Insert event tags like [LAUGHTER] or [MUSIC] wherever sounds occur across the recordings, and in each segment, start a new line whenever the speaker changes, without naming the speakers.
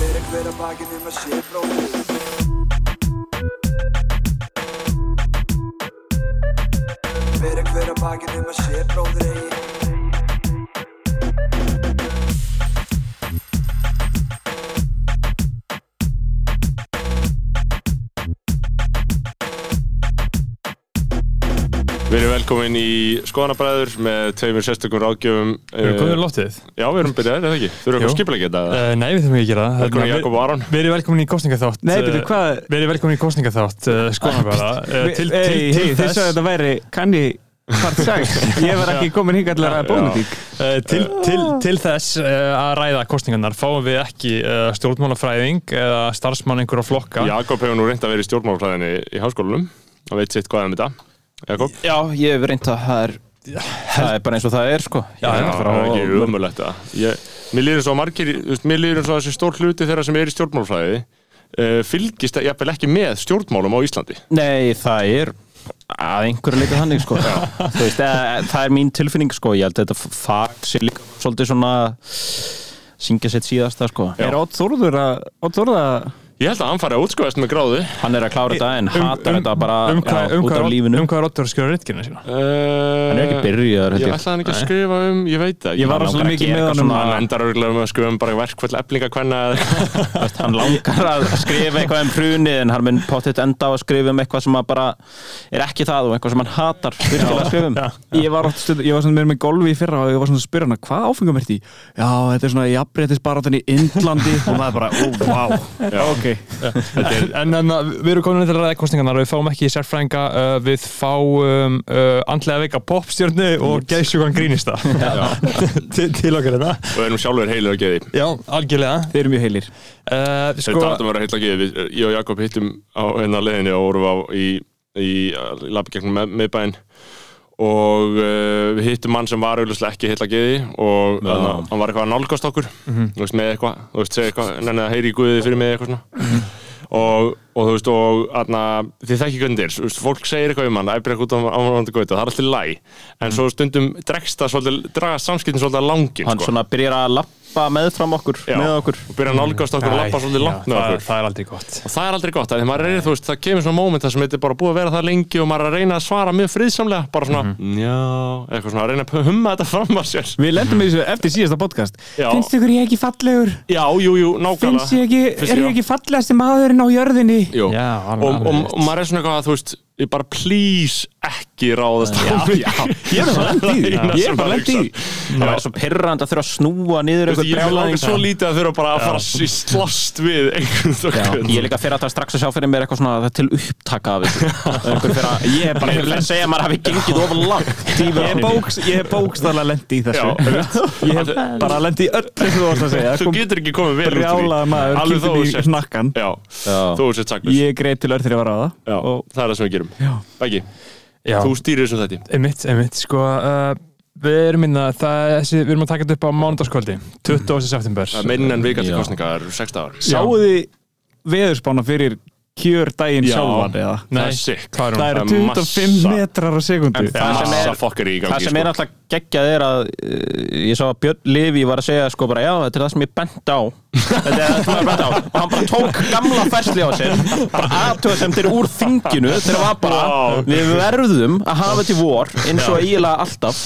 hver að baki nema sé bróðir Hver að hver að baki nema sé bróðir eigi
Við erum velkomin í skoðanabræður með tveimur sérstökum ráðgjöfum
Við erum komið í loftið.
Já, við erum byrjaðir, eða ekki? Þú erum
Jú.
eitthvað skipilega getað
Eh,
Uh, nei, við þurfum ekki að gera það. Hérna,
Velkomin Jakob og Aron.
Verið velkomin í kostningaþátt.
Nei, byrju, hvað- Ah,
eh, Verið velkomin í kostningaþátt, uh, skoðan bara. Uh, til, til,
Ei,
til,
hei, þið
þess,
sagði að þetta væri kanni part 6 Ég var ekki komin hingað til að ræða pólitík
uh, til,
Ah.
til, til þess uh, að ræða kostningarnar fáum við ekki uh, stjórnmálafræðing eða starfsmann einhverja flokka.
Jakob hefur nú reynd að vera í stjórnmálfræðinni í háskólanum og veit sitt hvað er með það. Jakob?
Já, ég hef reynt að það er Það er bara eins og það er sko Ég er
það
frá-
er ekki umulegt að ég, Mér líður svo margir, þú veist, mér líður svo þessi stór hluti þeirra sem er í stjórnmálfræði uh, fylgist jafnvel ekki með stjórnmálum á Íslandi.
Nei, það er að einhverju leika þannig sko Þú veist, eða, það er mín tilfinning sko Ég held að þetta fag sé líka svolítið svona syngja sitt síðasta sko
Já.
Er Ótt Þórður að Ótt Þórður að
Ég held að hann fari að útskóðast með gráðu.
Hann er að klára þetta en hatar þetta bara
um, hvað-
já,
um,
út
hvað
af
Odd-
lífinu
um hvað Rottur skjóður rittkina sína
Uh,
Hann er ekki byrjaður
Ég
held ég
ætlaði hann ekki að skrifa um, ég veit það ekki.
Ég var
Hann
rosalega
langar að
mikið
gera
með
eitthvað
honum
Hann
að-
endar örgulega með að skrifa um bara verkvöld eflingakvenna eða
Hann langar að skrifa eitthvað um hrunið en hann mun pottitt enda á að skrifa um eitthvað sem að bara er ekki það og eitthvað sem hann hatar virkilega að skrifa um
Ég var oft stund, ég var svona meira með golfi í fyrra og ég var svona að spyrja hana, hvað áfengum ert í? Já, þetta er svona jafnbreytisbarátan í
[LAUGHS]
Indlandi og það er bara, ó, vá Ok,
en, en að við erum komin til að ræða kostningarnar og við fáum ekki sérfræðinga uh, við fáum uh, andlega veika popstjörnu og geðsjúkan grínista [LAUGHS] til, til okkar þetta
og við erum sjálfur heilir að geði
já, algjörlega
þeir eru mjög heilir
uh,
Sko,
sko,
þetta átum að vera heill að geði, við, eh, ég og Jakob hittum á hennar leiðinni og vorum á í, í labbi gegnum með, miðbæinn og uh, við hittum mann sem var auðvitað ekki heill að geði og þarna, hann var eitthvað að nálgast okkur þú veist, með eitthvað, þú veist, segja eitthvað nennið að heyri í guðið fyrir mig eitthvað svona og, og þú veist, og atna, þið þekki göndir, þú veist, fólk segir eitthvað um hann æfri eitthvað út á ánvöndu gauta, það er alltaf læg en svo stundum dregst það svolítið dragast samskiptin svolítið sko. langin
Hann svona byrjar að lappa með fram okkur
Já,
með okkur
og byrja að nálgast okkur og lappa svolítið langt með
það,
okkur
það er aldrei gott
og það er aldrei gott, af því maður er, þú veist, það kemur svona móment þar sem þetta er bara búið að vera það lengi og maður er að reyna að svara mjög friðsamlega, bara svona já, eitthvað svona, að reyna að humma þetta fram að sér
Við lendum í þessu eftir síðasta podcast
Já.
Finnst ykkur ég ekki fallegur?
já, jú, jú, nákvæmlega
Finnst ég ekki,
Finnst
er ég
já.
ekki fallegasti maðurinn á jörðinni?
Jú.
Já, alveg,
og, og,
alveg.
og maður er svona eitthvað að þú veist ég bara please ekki ráðast á mig
Ég er bara lent
[LAUGHS]
í því.
[LAUGHS] Eina
Ég
sem
er bara
maður
lent í því.
hugsar.
Það
Já.
væri svo pirrand að þurfa að snúa niður
Þú veist,
einhver
ég vil
brjálæðing
langa svo lítið að þurfa bara að fara að slast við einhvern
Já,
þokkun
Ég er líka fyrir að það strax að sjá fyrir mér eitthvað svona það er til upptaka af
[LAUGHS]
þessu Einhver fyrir að- Ég er bara fyrir að segja að maður hafi gengið of langt í
Ég hef
vörninni.
bóks, ég hef bókstæðlega lendi í þessu Ég hef bara lendi í öllu sem þú varst að segja Það
þú
kom
getur ekki komið vel út úr því.
brjálaða maður
alveg þó
kýttum í
þú sért
snakkan
já,
Já.
þú sért saklaus.
Ég greið til örþri að vara á
Já,
það og
það er það sem við gerum
Já.
Beggi,
Já.
þú stýrir þessum þetta
Einmitt, einmitt, sko uh, Við erum minna, það, er þessi, við erum að taka þetta upp á mánudagskvöldi 20. september
Það er meinn en vika til
Já.
kostninga, það eru 6 dagar
Sáuð þið veðurspána fyrir kjör daginn
Já.
sjálfan eða?
Nei,
það er sick.
hvað er hún?
Það eru
Það er
25
massa.
metrar á sekundu
En það sem
Massa
er-
fokkar í
Það
gangi sko.
sem er alltaf geggjað er að eh, ég sá að Björn Livi var að segja sko bara já, þetta er það sem ég bent á þetta er það sem ég bent á og hann bara tók gamla fersli á sér bara aðtöða sem þeir úr þinginu þeir var bara,
Vá.
við verðum að hafa til vor eins og eiginlega alltaf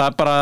það er bara,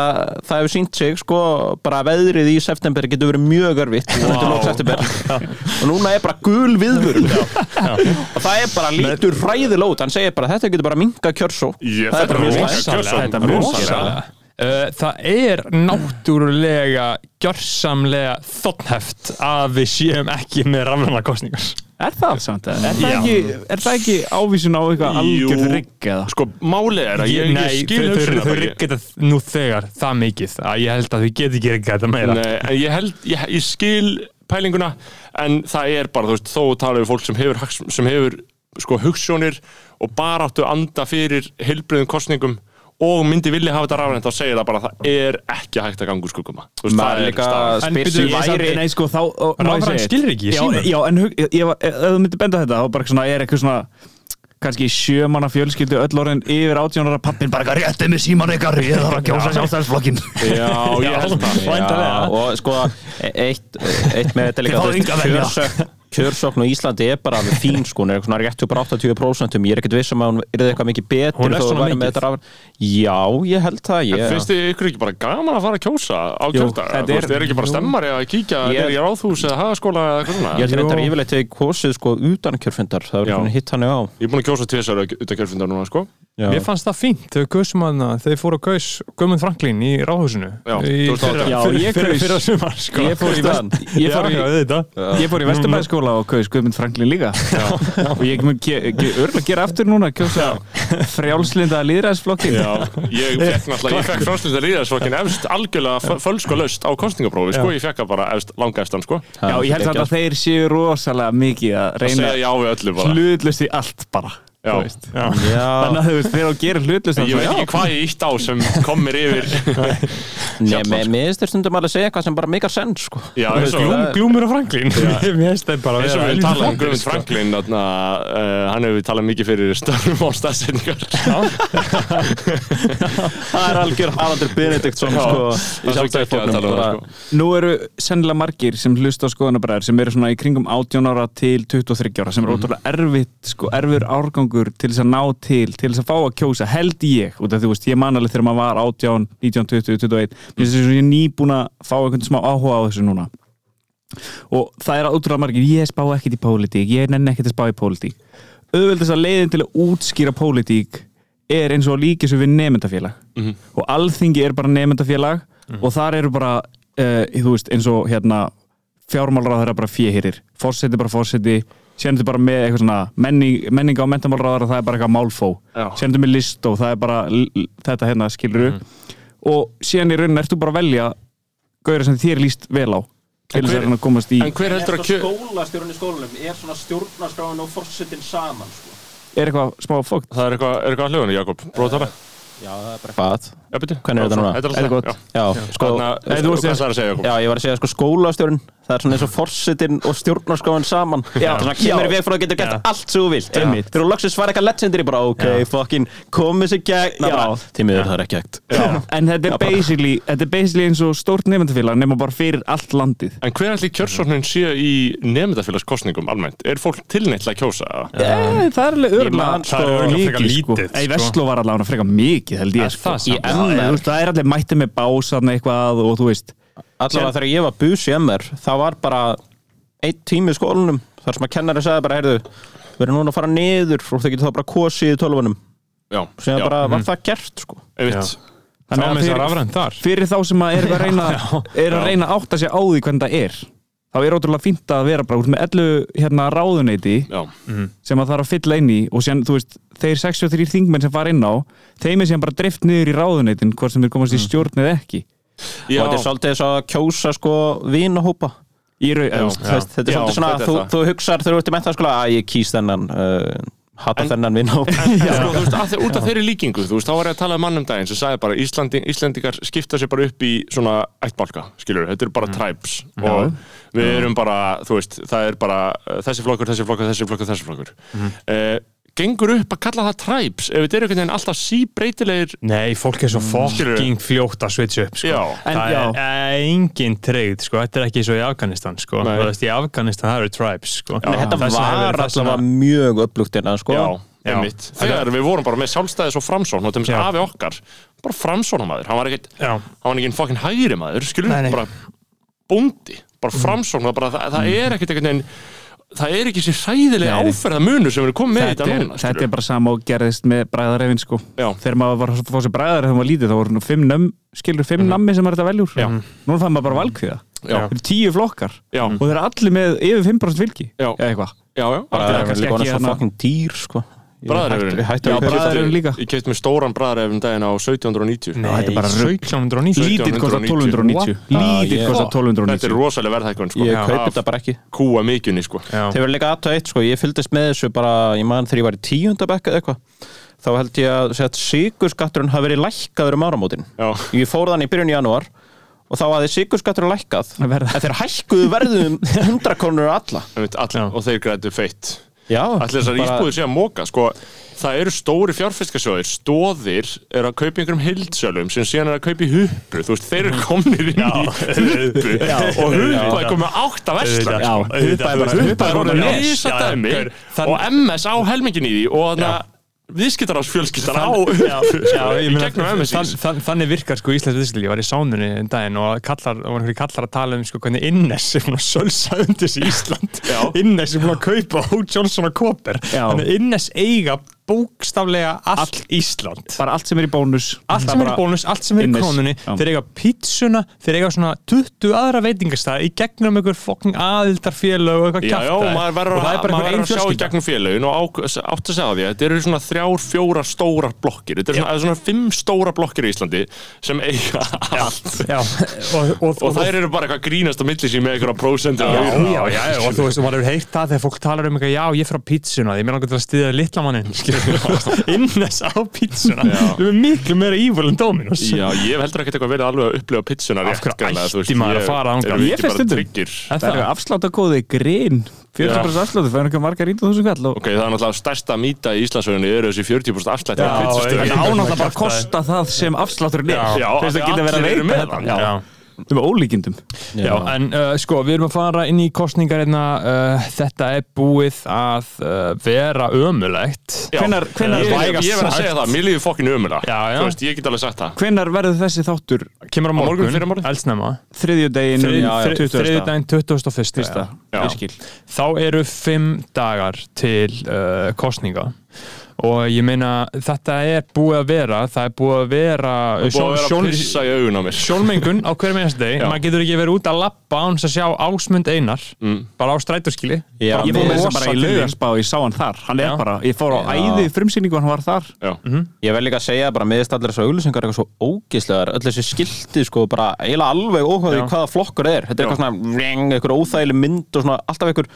það hefur sínt sig sko bara veðrið í september getur verið mjög örfitt undir lók september og núna er bara gul viðvörun og það er bara lítur ræðilót hann segir bara þetta getur bara minga kjörsó
Ég,
það er bara mjög
rosalega.
slæmt.
Kjörsókn.
Þetta er
Rosalega.
rosalega Uh, það er náttúrulega gjörsamlega þotnheft að við séum ekki með rafræna kostningar
Er það samt? eða? Er það ekki, er það ekki ávísun á eitthvað
Jú.
algjörð rigg eða?
Sko, málið er að ég,
Nei,
ég skil
þau- þau-
hugsunum
þau rigga þetta nú þegar það mikið að ég held að þau geti ekki rigga þetta meira
Nei, en ég held, ég, ég skil pælinguna en það er bara, þú veist, þó tala við fólk sem hefur, hags- sem hefur sko, hugssjónir og bara áttu anda fyrir heilbriðum kostningum og myndi vilja hafa þetta rafrænt þá segir það bara að það er ekki hægt að ganga úr skugguma Þú veist,
maður
það er
líka
staðan.
En
spyr
byrju,
sig
ég samt-
væri
Nei, sko, þá og- má ég
Rafræn
segja eitt?
skilríki í
Já,
símanum.
já, en hug- ég- ég var- ef þú myndir benda á þetta þá bara svona, er eitthvað svona kannski sjömanna fjölskyldu öll orðin yfir átjónara pappin bara eitthvað réttið með síman ykkar ég þarf að kjósa sjálfstæðisflokkin
Já, ég held það
Já, og sko e- eitt, eitt með þetta
Þið
líka
fáið
þú veist,
enga að velja.
kjörsókn- kjörsókn á Íslandi er bara alveg fín sko hún er svona réttu bara 80% ég er ekkert vissum að hún er eitthvað mikið betri
Hún er
þó að
svona
væri með
mikið.
þetta rafræn- já, ég held það
En
ég,
Finnst þið ykkur ekki bara gaman að fara að kjósa á kjördag?
þetta
Þú veist,
er-
er ekki bara stemmari að kíkja
Ég-
niður í ráðhús eða hagaskóla eða eitthvað
ég
svona?
held reyndar yfirleitt til kosið sko utan kjörfundar það
Já.
verður hitt hann á
Ég er búin að kjósa tvisar utan kjörfundar núna, sko.
já.
Mér fannst það fínt, þau kausum hana, þau fóru að kaus Guðmund Franklín í ráðhúsinu
Já,
í
2008.
fyrra,
Já,
fyrra,
ég
fyrra,
kaus.
fyrra sumar sko.
ég fór í, vest,
[LAUGHS]
ég fór í,
Já, auðvitað.
ég fór í Vesturbæðskóla og kaus Guðmund Franklin líka [LAUGHS] og ég mun ge- ge- örugglega gera aftur núna kjósa frjálslinda líðræðsflokkin
Já,
[LAUGHS]
ég fekk náttúrulega, ég fekk fránslýsta líðarsflokkin efst algjörlega fölsk og löst á kostningaprófi, sko, ég fekk það bara efst langæstan, sko.
Já,
Já, ég held samt að þeir séu rosalega mikið að
Að
reyna
segja já við öllu bara.
hlutlust í allt bara
Já.
þú veist.
já,
þannig að þú veist þegar þú gerir hlutlust
Ég veit ekki hvað ég ítt á sem kom mér yfir.
Nei, mér mér finnst þér stundum alveg að segja eitthvað sem bara meikar send sko
Já,
Þú
eins
veist,
og-
það-
Glúm, glúmur og Franklín [LAUGHS] Mér finnst það bara
eins og við
vera helvítið
talaðum um
fyndið,
Guðmund
sko.
Franklin þarna, uh, hann hefur talað mikið fyrir störfum á staðsetningar
það er algjör Haraldur Benediktsson
Já,
sko
það er svo ekki að tala um það,
bara-
sko.
Nú eru sennilega margir sem hlusta á skoðanabræður sem eru svona í kringum 18 ára til 23 ára sem
Mhm.
eru ótrúlega erfitt sko, erfur árgangur til þess að ná til til þess að fá að kjósa, held ég út af því, þú veist, ég man alveg þegar maður var 18, 19, 20, 21 mér finnst þess að ég er nýbúin að fá einhvern smá áhuga á þessu núna og það er ótrúlega margir, ég spá ekkert í pólitík ég nenni ekkert að spá í pólitík auðveldast að leiðin til að útskýra pólitík er eins og líkis við nefndafélag
Mhm.
og alþingi er bara nefndafélag og þar eru bara uh, þú veist, eins og hérna fjármálráðara bara fjöhýrir, fórseti bara fórseti sérnum þetta bara með eitthvað svona menning, menninga og mentamálráðara það er bara eitthvað málfó
Já. Mhm.
sérnum þetta með list og það er bara l- l- þetta hérna skiluru og síðan í rauninni ertu bara að velja gauður sem þér líst vel á til þess
hver-
að reyna að komast í
En hver heldur að kjö...
skólastjórun í skólanum er svona stjórnarskráin og forsetin saman sko.
er eitthvað smá fókt
Það er eitthvað, er eitthvað að hljóðinu, Jakob, bróðtara
Já, það er bara
Hvað?
Já, byrju,
Hvernig er þetta núna?
Þetta er
Er það gott?
alltaf,
Já, sko,
já Þú veist það að segja, Jakob
Já, ég var að segja sko skólastjórn Það er svona eins og forsetin og stjórnarskóin saman já, Þannig að kemur í veg frá að getur gert allt sem þú vilt
Einmitt.
Þegar þú loksins var eitthvað legendary bara Ok, fucking, komið sér gegn
Já.
Tímiður það er ekki egt
en þetta er, basically, þetta er basically eins og stórt nefndafélag nema bara fyrir allt landið
En hver ætli kjörsóknin sé í nefndafélagskostningum almennt? Er fólk tilneitt að kjósa? eða?
yeah, Eh, það er alveg örgulega
man, sko, Það er
örugglega frekar
sko.
lítið,
Nei,
sko.
Vestló var allavega frekar mikið held
Er
ég sko.
það samt?
Já, eða, þú veist, það er allir mættið með básan eitthvað og þú veist
Allavega þegar ég var bus í MR Það var bara einn tími í skólanum Þar sem að kennari sagði bara, heyrðu Við erum núna að fara niður Og þau getur þá bara kosið í tölvunum
Já,
Sem
já,
bara var það gert sko
einmitt
Þá með það
fyrir,
rafrænt þar
fyrir þá sem að er að reyna
[LAUGHS]
er að reyna að átta sig á því hvernig það er þá er ótrúlega fínt að vera bara út með 11 hérna, ráðuneyti
Já,
sem að það er að fylla inn í og síðan, þú veist, þeir 63 þingmenn sem fara inn á þeim er síðan bara drift niður í ráðuneytin hvort sem þeir komast í
Mm.
stjórn eða ekki
Og
já
þetta er svolítið þess að kjósa sko vinahópa
í rau, já,
Þú veist, þetta er
Já,
svolítið svona
þetta
að
er
þú,
það.
þú hugsar þegar þú ert í mentaskóla að ég kýs þennan uh, hata þennan vinn og
En sko, þú veist, að þeir, út af þeirri líkingu, þú veist, þá var ég að tala um mann um daginn sem sagði bara Íslandi, Íslendingar skipta sér bara upp í svona ættbálka, skilur þetta eru
Mm.
bara tribes og við erum bara, þú veist, það er bara uh, þessi flokkur, þessi flokkur, þessi flokkur, þessi flokkur
Mm.
uh, Gengur upp að kalla það tribes ef þetta eru einhvern veginn alltaf síbreytilegir
Nei, fólk er svo fucking fljótt að switcha upp
Mm,
sko.
Já.
En
Það
já.
er eh, engin treyð sko. Þetta er ekki svo í Afganistan sko.
Nei.
Þú veist, Í Afganistan það eru tribes sko.
Nei, þetta
Þess vegna hefur
var
þess vegna-
allavega mjög upplugt innan sko
Já,
Já.
einmitt. Þegar við vorum bara með sjálfstæðis og framsókn og til þess
Já.
að afi okkar, bara framsóknamaður hann var ekkert,
Já.
hann var ekkert fokkin hægri maður skilur,
Nei, nei.
bara bóndi bara framsókn, það, bara, það, það er ekkert einhvern veginn það er ekki sér sæðilega
Nei, nei.
áferðamunur sem eru komið með
þetta,
þetta
er,
núna
þetta
skilurðu.
er bara sama og gerðist með bræðarefin sko
Já.
þegar maður var að fá sér bræðar þegar maður var lítið þá voru nú fimm, nömm, skilur, fimm nammi sem maður þetta veljur
Mhm. Já.
núna fann maður bara valkviða
Já.
Þeir eru tíu flokkar
Já.
og þeir eru allir með yfir 5% fylgi
Já.
eða eitthvað
já, já,
bara
Algjörlega,
það er
kannski
líka
ekki
svona
hérna.
fucking dýr sko Ég
Bræðrefurinn.
hætti-
Já,
hætti að kaupa
bræðrefurinn.
þetta.
bræðrefurinn líka.
ég keitt mér stóran bræðarefn daginn á 1790
Nei,
þetta er bara rugl. [LAUGHS]
1790
lítið kosta 1290 lítið
What? Ah,
kosta
ég-
þetta er
1290
rosalega verðhækkun sko,
ég
af
kaupi þetta bara ekki
kúa mikjunni sko.
Já.
Þeir verður líka aðtöð eitt sko, ég fylgdist með þessu bara, ég man þegar ég var í tíundabekka eða eitthvað þá held ég að segja, sigurskatturinn hafi verið lækkaður um áramótin
Já.
Ég fór þannig í byrjun janúar og þá hafði sigurskatturinn lækkað
Að verða-
um en þeir hækkuðu verðum 100 konur alla
Einmitt, all,
Já.
og þeir grættu feitt
Já,
Allir þessar
bara-
íbúðir sé að móka sko, Það eru stóri fjárfiskasjóðir Stóðir er að kaupa í einhverjum hildsölum sem síðan er að kaupa í huppu Þú veist, þeir eru komnir inn í huppu og huppa er komið átt af versla
Já, Hubba er bara-
huppa er orðin
Já, já,
risadæmi
já, gaur, þann-
og MS á helmingin í því og þannig að viðskiptarás fjölskyldar á [LAUGHS] huppu sko, í gegnum MS
þann, þann, þannig virkar sko Íslands viðskilíf ég var í sánunni en daginn og kallar, og einhverju kallar að tala um sko hvernig Innes er búin að sölsa undir sig Ísland Innes er búin að kaupa Hó Johnson og Koper
Já.
þannig að Innes eiga bókstaflega allt, Ísland
bara allt sem er í bónus
allt sem er í bónus, allt sem er í
Innes.
krónunni
Já.
þeir eiga pítsuna, þeir eiga svona 20 aðra veitingastæði í gegnum einhver fokkin aðildarfélög og eitthvað
Já, já, og maður
kjaftaði
verður
og það
að,
er bara
maður
einhver
verður
einn
að sjá í
fjölskylda
gegnum félögin og átt að segja því að þetta eru svona þrjár, fjórar stórar blokkir Þetta eru svona, það eru svona fimm stóra blokkir í Íslandi sem eiga allt
Já, og, og, og,
Og þær eru bara eitthvað að grínast á milli sín með einhverja prósendur
Sko, Já, já, já, já, og þú veist, maður hefur heyrt það þegar fólk talar um eitthvað, já, ég fer á pítsuna, ég meðan okkur til að styðja litla mannin, [LAUGHS] innes á pítsuna,
Já.
við erum miklu meira ívöl en Dominos.
Já, ég hef heldur ekkert eitthvað verið alveg að upplifa pitsuna
Af hverju ætti maður að fara þangað?
Erum við
Ég
ekki
fer
bara
stundum.
tryggir?
En
Það
það
er afsláttakóði grín 40% afsláttu, það er einhver margar ítum þúsund kall og
Ok, það er náttúrulega stærsta mýta í Íslandsögunni eru þessi 40% afslætti
Já,
á
já,
pitsastöðum
það ánáttúrulega
kjaftaði.
bara að kosta það sem afslátturinn er
Já,
þess að
af því
geta verið að
allir eru
veita
með
þetta
hann.
Já.
Já.
það var ólíkindum
Já, en uh, sko, við erum að fara inn í kostningar hérna, uh, þetta er búið að uh, vera ömulegt.
Hvenær- hvenær-
Ég, ég,
vægast
ég verð að segja
sagt.
það, mér líður fokkin umula
Já, já.
Þú veist, ég get alveg sagt það
hvenar verður þessi þáttur
Kemur á morgun,
morgun, fyrir morgun?
eldsnemma,
þriðju degin
þriðdæn 21.
fyrsta
Já.
ég skil
þá eru fimm dagar til uh, kostninga og ég meina þetta er búið að vera það er búið að vera, uh,
Búið að vera að pissa í augun á mér
sjónmengun á hverjum einast deg
Já.
maður getur ekki verið út að lappa án þess að sjá ásmund einar bara á strætóskili
Já,
bara
ég fór
mér-
með
brosa
þess að bara
til
í
þín.
laugarspa og ég sá hann þar hann
Já.
er bara, ég fór á
Já.
æði frumsýningu og hann var þar
Já,
Mhm.
Ég vel líka að segja bara miðist allir þessu auglýsingar eitthvað svo ógislegar, öll þessi skilti sko bara eiginlega alveg óhugað í
Já.
hvaða flokkur það er þetta er eitthvað svona, vreng, eitthvað óþægileg mynd og svona alltaf eitthvað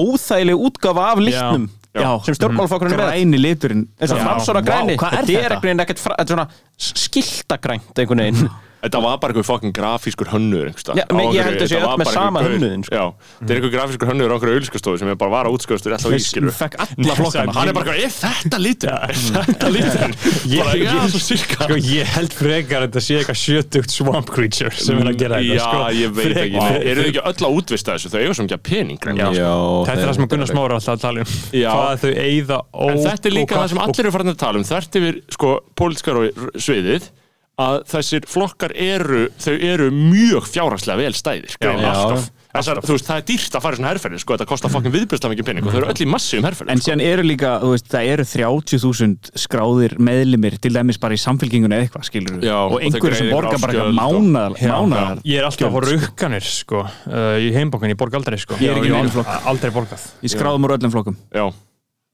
óþægileg útgafa af litnum
Já.
sem stjórnmálflokkurinn er með
græni liturinn
eins og
Já.
framsvara
Vá,
græni
hvað er
þetta er
þetta?
einhvern veginn ekkert fra- þetta er svona skiltagrænt einhvern
[LAUGHS]
veginn
Þetta var bara einhver fokkin grafískur hönnur
Já, men ég held að sé öll með sama hönnuðinn, sko.
sko. Já, þetta er einhver grafískur hönnur á einhverju auðlískastofu sem er bara var að útskjóðast alltaf í skilur
Ég fekk alla flokkana
Hann er bara, eitthvað, er þetta lítur? Er [LAUGHS] þetta lítur? Bara, já, svo cirka
Sko, ég held frekar að þetta sé eitthvað sjötugt swamp creature sem er að gera
Já,
þetta sko.
ég veit
Frekar-
ekki Eru þau ekki öll að útvista þessu? Þau eiga sem ekki að pening
Já, sko. Þetta er það sem Gunnar
smá
Smára er alltaf að tala um
Já.
hvað þau eigða ó
En þetta er
og
líka
hvað-
það sem allir eru farin að tala um Þvert yfir, sko, pólitskar og sviðið að þessir flokkar eru þau eru mjög fjárhagslega vel stæðir sko,
Já.
alltaf Þessar, þú veist, það er dýrt að fara í svona herferðir, sko, þetta kostar fokkin viðbjörnslega mikið pening og þau eru öll í massi um herferðir
En síðan eru líka, þú veist, það eru 30.000 skráðir meðlimir til dæmis bara í samfélkingunni eða eitthvað, skilur
Já,
og
og þeir
einhverju sem
greiða
borgar bara eitthvað
ykkur afskjöld og-
mánaðar,
Já,
mánaðar.
Ég er alltaf á rukkanir sko, uh, í heimbókinni, ég borg aldrei sko.
Ég er ekki í neinum flokk.
aldrei borgað
Ég skráðum úr öllum flokkum.
Já,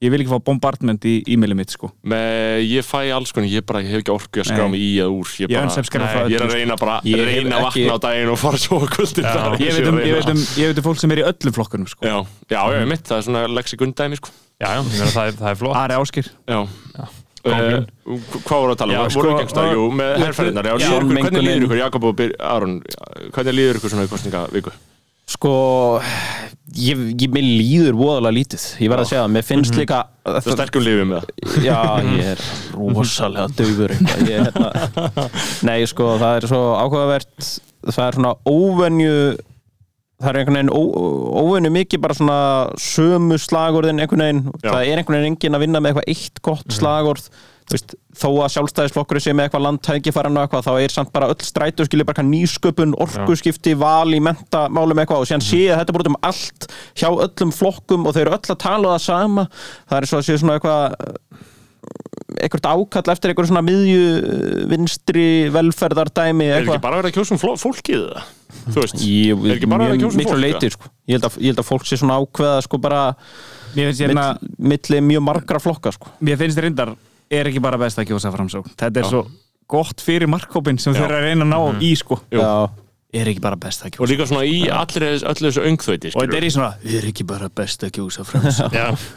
Ég vil ekki fá bombardment í e-mailið mitt, sko.
með, ég fæ alls konar, ég bara, ég hef ekki orku að skrá
Nei.
mig í eða úr Ég,
Ég
bara,
önsæm skráð
Nei,
frá
ég er
öllu.
að
sko.
reyna bara,
Ég hef
reyna að
ekki-
vakna á daginn og fara svo á kvöldin Það er
Ég
ekki
veit
sem
um,
að
ég
reyna.
veit um, ég veit um fólk sem er í öllum flokkunum, sko.
Já, já, já, ég mitt, það er svona lexikundæmi, sko
Já, já, ég meina, það, er, það er flott
Ari Áskir.
Já, já. Hvað voru að tala um?
Já,
Voru
sko,
gengsta,
uh,
jú, með herrferðinar já,
já,
líður ykkur, Hvernig
mengunin.
líður ykkur, Jakob og Byr, Aron Hvernig líður ykkur svona í kostningaviku?
sko ég, ég mér líður voðalega lítið ég verð að segja það, mér finnst líka
Það sterkum lífið með það
Já, ég er rosalega döfur eitthvað ég, er hérna, Nei, sko, það er svo áhugavert það er svona óvenju það er einhvern veginn ó- óvenju mikið bara svona sömu slagorðin einhvern veginn,
Já. Mhm.
það er einhvern veginn enginn að vinna með eitthvað eitt gott slagorð þú veist, þó að sjálfstæðisflokkur sé með eitthvað landtækifaran og eitthvað, þá er samt bara öll strætu skilja bara eitthvað nýsköpun, orkuskipti val í mentamálum eitthvað og síðan
Mhm.
sé að þetta er bara út um allt hjá öllum flokkum og þau eru öll að tala það sama það er svo að sé svona eitthvað eitthvað ákall eftir eitthvað svona miðju vinstri velferðardæmi
Er ekki
eitthvað
bara verið að kjósa um fló- fólkið það? Þú veist,
Ég-
er ekki bara verið að
mjög-
kjósa um
miklu
fólk?
leiti, sko. ég, held að, ég held að fólk sé svona ákveða sko bara
Mér finnst
mill,
hérna,
milli mjög margra flokka sko.
mér finnst reyndar, er ekki bara best að kjósa framsókn. Þetta er svo gott fyrir markkópin sem þeir eru að reyna að ná í, sko.
Jú.
Já.
Er ekki bara best að
Og
kjósa.
líka svona í allir öllu þessu öngþveiti
Og þetta er í svona, er ekki bara best að kjósa framsókn. [LAUGHS]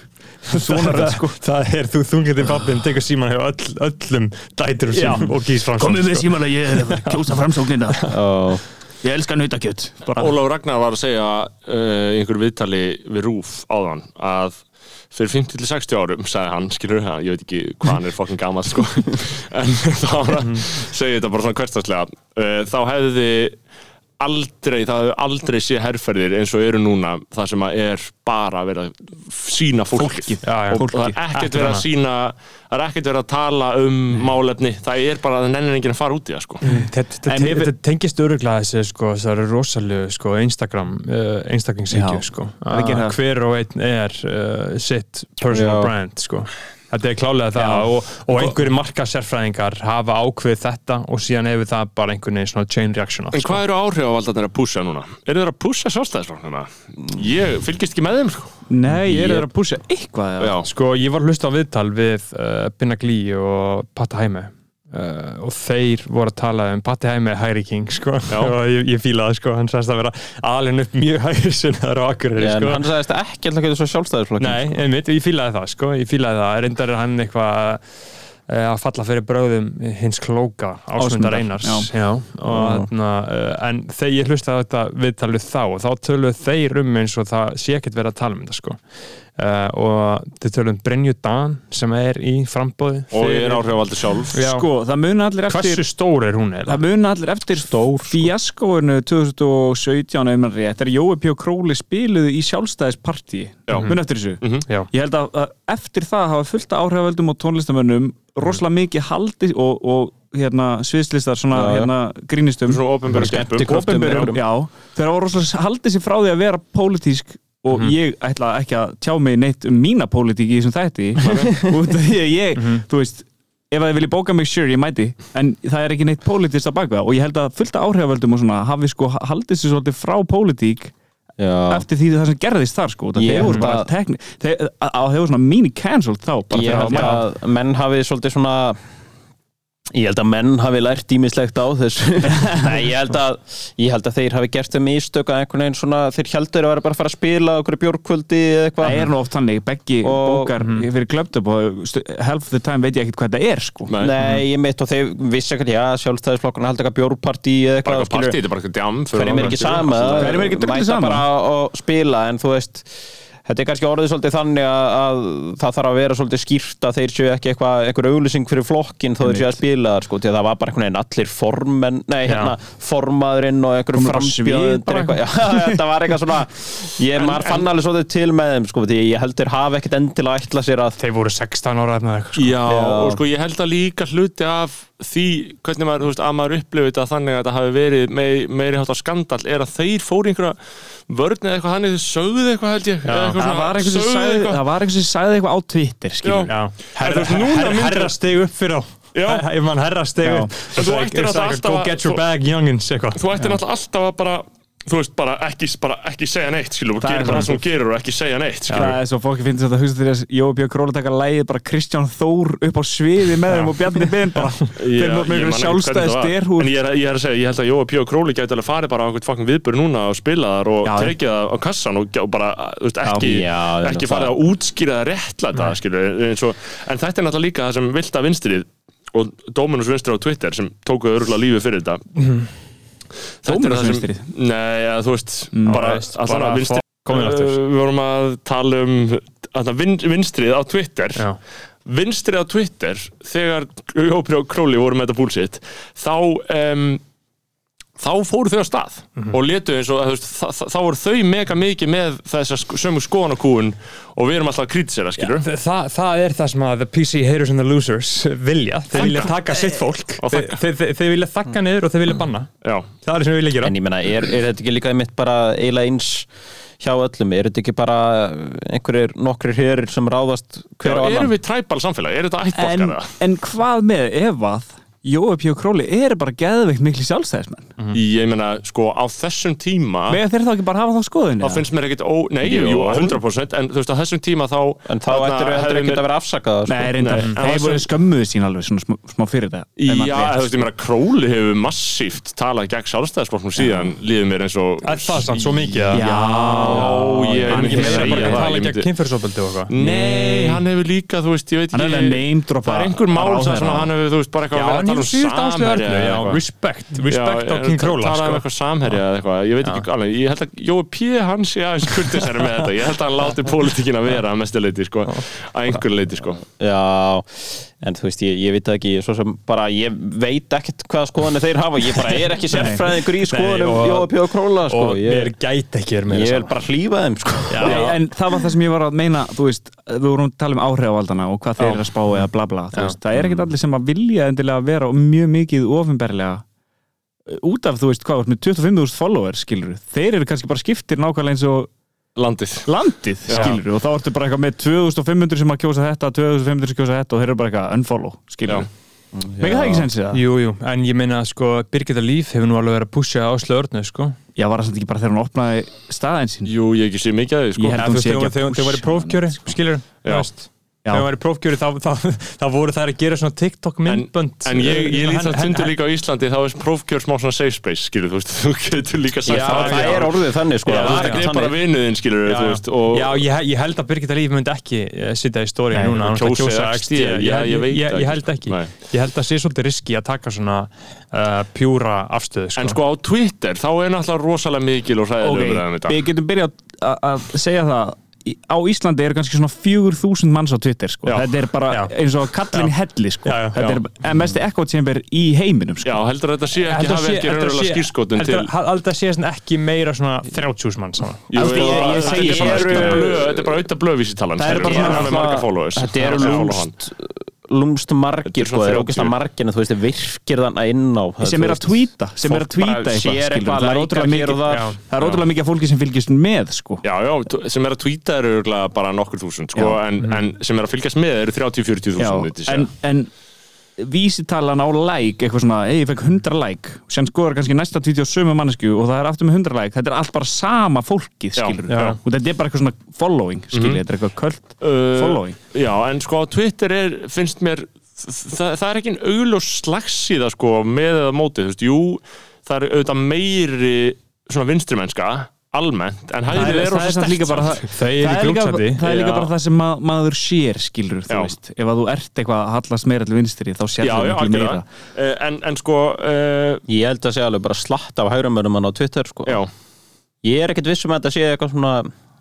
Svona rödd,
sko. það er þú þungið þig pappin tekur síman hjá öll, öllum dæturum sínum og gís fram
komið með síman að ég er að fara að kjósa framsóknina
Já.
Ég elska nautakjöt bara,
Ólaf Ragnar var að segja uh, í einhverju viðtali við Rúf áðan að fyrir 50-60 árum sagði hann, skilur það, ég veit ekki hvað hann er fokkin gammal sko [LAUGHS] en þá var að segja þetta bara svona hverstaslega uh, þá hefði aldrei, það hefði aldrei sé herrferðir eins og eru núna það sem að er bara að vera sína fólkið,
Fólkið,
já, já,
og
fólkið,
það er ekkert
ekkert
verið að
annað.
sína það er ekkert verið að tala um málefni það er bara að það nennir enginn að fara út í það sko
Þetta, þetta,
En
te-
ef-
þetta tengist öruglega þessi sko, það eru rosalegu sko, Instagram uh,
Já,
einstaklingshyggju sko.
það
Að
gerir það.
hver og einn er uh, sitt personal
Já.
brand sko. þetta er klálega það og, og einhverju marka sérfræðingar hafa ákveð þetta og síðan hefur það bara einhvern veginn svona chain reaction á,
En
sko.
hvað eru áhrifavaldarnir að pússa núna? Eru þeir að pússa sjálfstæðisflokknuna? Ég fylgist ekki með þeim sko.
Nei, ég er
Ég-
að púsa eitthvað eða?
Já,
Sko, ég var að hlusta á viðtal við uh, Binna Glí og Patti Hæmi uh, og þeir voru að tala um Patti Hæmi er hægri king, sko [LAUGHS] og ég, ég fíla það, sko, hann sagðist að vera alin upp mjög hægri sinnaður á akkurir,
En
sko
hann sagðist ekki alltaf getur svo sjálfstæðisflokkin
Nei, einmitt, ég fílaði það, sko, ég fílaði það reyndar er hann eitthvað eh, að falla fyrir bröðum hins klóka
Ásmundar,
Ásmundar Einars
já.
Já, og, þarna, eh, en þegar ég hlustaði á þetta viðtalið þá og þá töluðu þeir um eins og það sé ekkert verið að tala um þetta sko. uh, og þeir töluðu um Brynju Dan sem er í frambóði
og ég er áhrifavaldur sjálf
Já.
Sko, það muna allir eftir
hversu stór er hún eða?
Það muna allir eftir Stór, sko. fíaskóinu 2017 ef maður rétt, þegar Jói P. og Króli spiluðu í sjálfstæðisparti muna eftir þessu
Já,
Ég held að, að eftir það hafa fullta áhrifavöldum og tónlistamönnum rosalega mikið haldi og, og hérna sviðslistar svona
Já, já.
hérna grínistum
Svona opinberum skemmtum
skemmtikröftum
opinberum, já, þeir hafa rosalega haldið sér frá því að vera pólitísk og
Mhm.
ég ætla ekki að tjá mig neitt um mína pólitík í þessum
[LAUGHS]
þætti [LAUGHS] út af því að ég,
Mhm.
þú veist ef að þið vilji bóka mig, sure, ég mæti en það er ekki neitt pólitíst að baka og ég held að fullta áhrifavöldum og svona hafi sko haldið sér svolítið frá pólitík
Já.
eftir því það sem gerðist þar sko það
Ég
hefur
held
bara
að-
tekni þeir það hefur svona mini cancelled þá bara
Ég
fyrir
held
að-
að menn hafi svolítið svona Ég held að menn hafi lært ímislegt á
[LAUGHS]
þessu Nei, ég held að, ég held að þeir hafi gert þeim ístök að einhvern veginn svona þeir heldur að vera bara að fara að spila okkur bjórkvöldi eða
það
eitthvað
er nú oft þannig beggi
Og- Mhm.
bókar fyrir klöptum og stu- half the time veit ég ekkert hvað þetta er sko
Nei,
Nei, ég mitt og þeir vissi ekkert, já, sjálfstæðisflokkurna haldi eitthvað bjórpartí eða
bara
eitthvað
eitthvað partí, þetta er bara eitthvað djam fyrir
hverjum er ekki
áhrifavaldur.
sama
Hverjum er ekki drullið
mæta
sama?
bara og spila en þú veist þetta er kannski orðið svolítið þannig að, að það þarf að vera svolítið skýrt að þeir séu ekki eitthvað einhver auglýsing fyrir flokkin þó þeir séu að spila þar sko, því að það var bara einhvern veginn allir formen, nei hérna formaðurinn og einhver
Komið bara á svið
frambjöðundur
bara.
eitthvað, já, [LAUGHS] þetta var eitthvað svona ég maður fann alveg svolítið til með þeim sko, því ég heldur hafi ekkert endilega ætla sér að
þeir voru 16 ára eða eitthvað sko.
Já, og sko ég held að líka hluti af því hvernig maður, þú veist, að maður upplifið þetta þannig að þetta hafi verið mei, meiri hátta skandal er að þeir fóru í einhverja vörn eða eitthvað þannig, þeir sögðu eitthvað held ég eða eitthvað
það
svona,
var einhvers sem
sögðu
sagði
eitthvað.
það var einhvers sem sagði eitthvað á Twitter
Já.
skilur við.
Já,
En þú veist, núna
herra,
myndir-
herra steg upp fyrir á
Já.
Her- Ef mann herra steg
Já.
upp
En þú
It's like-
ættir
it's
náttúrulega
like a Go
alltaf
get
að-
your bag youngins eitthvað
þú ættir náttúrulega alltaf að bara þú veist, bara ekki, bara ekki segja neitt skilur,
Það er
gera bara það
svona.
sem þú gerur og ekki segja neitt skilur.
Það er svo fólki finnst þetta að hugsa til þess Jói Björk Króla taka lægið bara Kristján Þór upp á sviði með þeim og Bjarni Ben
[LAUGHS]
bara
Já,
þeir
ég man
mjög mjög
ekki
sjálfstæði
hvernig það var.
styrhúr
En ég er, að- ég er að segja, ég held að Jóa Pjó og Króli gæti alveg farið bara á einhvern fucking viðbur núna og spila þar og
Já, já.
tekið það á kassan og, og bara, þú veist, ekki,
Já, já,
ekki
það-
farið að útskýra það réttlæta, skilur við, eins og, en þetta er náttúrulega líka það sem vilt að vinstrið og Dominus vinstrið á Twitter sem tókuðu örgulega lífið fyrir þetta Þetta er
Dominus
það sem-
vinstrið?
Nei, ja, þú veist, bara,
veist,
alltaf
Mm. bara
að vinstrið
komin aftur.
Uh, Við vorum að tala um að vin, vinstrið á Twitter
Já.
vinstrið á Twitter þegar Jópri og Króli voru með þetta búlsitt þá um, þá fóru þau á stað og letu eins og þú veist, þa- þa- þá voru þau mega mikið með þessa sk- sömu skoðanakúun og við erum alltaf að kritisera skilur
Þa, það- það er það sem að the PC haters and the losers vilja þeir vilja taka sitt fólk
Og
þeir,
þagga.
þeir, þeir, þeir vilja þakka niður og þeir vilja banna
Já,
það er það sem við vilja gera
En ég meina, er, er þetta ekki líka mitt bara eiginlega eins hjá öllum? Er þetta ekki bara einhverjir nokkrir hérir sem ráðast hver á
Já erum
annan?
við træbal samfélag? Er þetta
en,
ættbólkara?
en hvað með ef að Jói P. og Króli eru bara geðveikt miklu sjálfstæðismenn
Ég meina, sko, á þessum tíma
Mega þeir þá ekki bara hafa þá skoðinu
þá finnst mér ekkit ó... Nei, jú,
Jú.
jú, 100% en þú veist, á þessum tíma þá
En þá
þarna
ættir
hefði
þetta ekki
mér-
að vera sko. afsakaða
Nei, reyndar,
Nei, en það
þeir
sem-
voru skömmuðu sín alveg svona smá, smá fyrir þetta
Já,
ef maður rétt.
þú veist, ég meina, Króli hefur massíft talað gegn sjálfstæðisflokknum síðan líður mér eins og
Er það sann svo mikið að
Já,
Já, ég
hann
myndi
hefur
segja
bara-
það,
það
ég
tala
myndi-
gegn kynferðsopöldi og eitthvað
Nei, hann hefur líka, þú veist, ég veit
Hann
ekki
er alveg að name droppa
Það er einhver mál
ráðherra.
sem svona, hann hefur, þú veist, bara eitthvað
Já, en
tala um
Áslu
samherja
Erlu,
eða
já,
eitthvað.
respect respect á
ég-
King
ta-
Króla
Tala um
sko.
eitthvað samherja eða eitthvað Ég veit ekki alveg, ég held að Jói P. hans sé aðeins kurtisæri með þetta Ég held að hann láti pólitíkina vera að mestu leiti sko Að einhverju leiti sko
Já, en þú veist, ég, ég veit það ekki, svo sem bara, ég veit ekkert hvaða skoðanir þeir hafa, ég bara er ekki sérfræðingur í skoðanum
og-
Jóa P. og Króla, sko,
og ég
ég,
er gæt ekki er með
ég vil bara hlýfa þeim, sko.
Nei, en það var það sem ég var að meina þú veist, þú vorum að tala um áhrifavaldana og hvað þeir eru að spá eða bla bla þú veist, það er ekkert allir sem að vilja endilega vera mjög mikið ofinberlega út af þú veist hvað, þú ert með 25.000 followers skilur, þeir eru kannski bara skiptir nákvæmlega eins og
Landið
landið skilur og þá ertu bara eitthvað með 2500 sem að kjósa þetta 2500 sem kjósa þetta og þeir eru bara eitthvað unfollow skilur, meginn það ekki sensið það?
Jú, jú, en ég meina sko Birgitta Líf hefur nú alveg verið að pusha Áslu Örnu sko.
Já, var það samt ekki bara þegar hún opnaði staðin sín
Jú, ég hef ekki sé mikið að því sko
Ég held
Ja,
að hún
þú
sé
veist,
ekki
þegar þegar-
að
þegar
pusha
hún var í prófkjöri
hana,
skilur, þú
Já.
veist þegar hún var í prófkjöri þá, þá, þá, þá voru þær að gera svona TikTok myndbönd
En
Hérna,
ég, ég lít það
Hann-
tundur líka á Íslandi þá er prófkjör smá svona safe space skilur þú veist, [LAUGHS] þú getur líka sagt
Já, [LAUGHS] það
já.
er orðið þannig, sko.
Já, þú veist,
það er
það er
ekki
bara
þannig.
vinuðinn skilur
Já,
þú veist og
já ég, ég held að Birgitta Líf myndi ekki eh, sitja í stóri núna hún ætlar að
kjósa XD,
XD.
já, ég veit það
ég, ég
ekki,
held
sko.
ekki
Nei.
Ég held að sé svolítið riski að taka svona uh, pjúra afstöðu sko.
En sko á Twitter þá er náttúrulega rosalega mikil og hræðileg umræða um
ok,
þetta
við getum byrjað að- að segja það Í- á Íslandi eru kannski svona 4000 manns á Twitter sko.
Já.
þetta er bara
Já.
eins og kallin í helli sko.
Já, já,
já.
þetta er bara- en mesti echo chamber í heiminum
Já,
sko.
heldur að þetta sé ekki, hafi ekki raunverulega skýrskotun til
Alltaf sé svona ekki meira svona 30 mann saman
Jú,
Aldrei-
jú,
ég- ég
þetta
segi
er bara
svona,
auðvitað
sko.
blöð- Þetta er bara auðvitað blöðvísitalan
Það er
Hann
bara
er alveg marga
svona,
followers
þetta eru
Já, já,
lúmst, lúmst
Þetta
margir,
eru svona
sko, það er
30.
ógæslega margir, en þú veist, þeir virkir þann að inn á.
sem er að tweeta sem er að
fólk bara
tweeta eitthvað,
sér
skilur.
eitthvað,
það er
lækar
ótrúlega
hér
mikið
og þar.
Já. það er ótrúlega mikið af fólki sem fylgist með sko.
Já, já, t- sem er að tweeta eru örugglega bara nokkur þúsund sko, en, en
Mm.
sem er að fylgjast með eru 30-40
Já,
þúsund myndi ég
en,
segja.
en vísitalan á like eitthvað svona, ei, ég fekk 100 like sem skoður kannski næsta tweet á sömu mannesku og það er aftur með 100 like, þetta er allt bara sama fólkið,
Já,
skilur
já.
og þetta er bara eitthvað svona following, skilur þetta er eitthvað kvöld
Uh,
following
Já, en sko á Twitter er, finnst mér það, það er ekki augljós slagsíða sko, með eða mótið, þú veist, jú það er auðvitað meiri svona vinstrimennska, almennt en hægrið er rosa
samt
stert
líka bara það,
Þau eru í
það, er líka,
glópsæti.
það er líka
Já.
bara það sem ma maður sér skilur, þú
Já.
veist, ef að þú ert eitthvað að hallast meira til vinstri, þá sér
Já,
það
já,
miklu meira
algjörða en, en sko, uh,
Ég held að segja alveg bara slatt af hægramörnum hann á Twitter, sko.
já,
Ég er ekkert vissum að þetta sé eitthvað svona,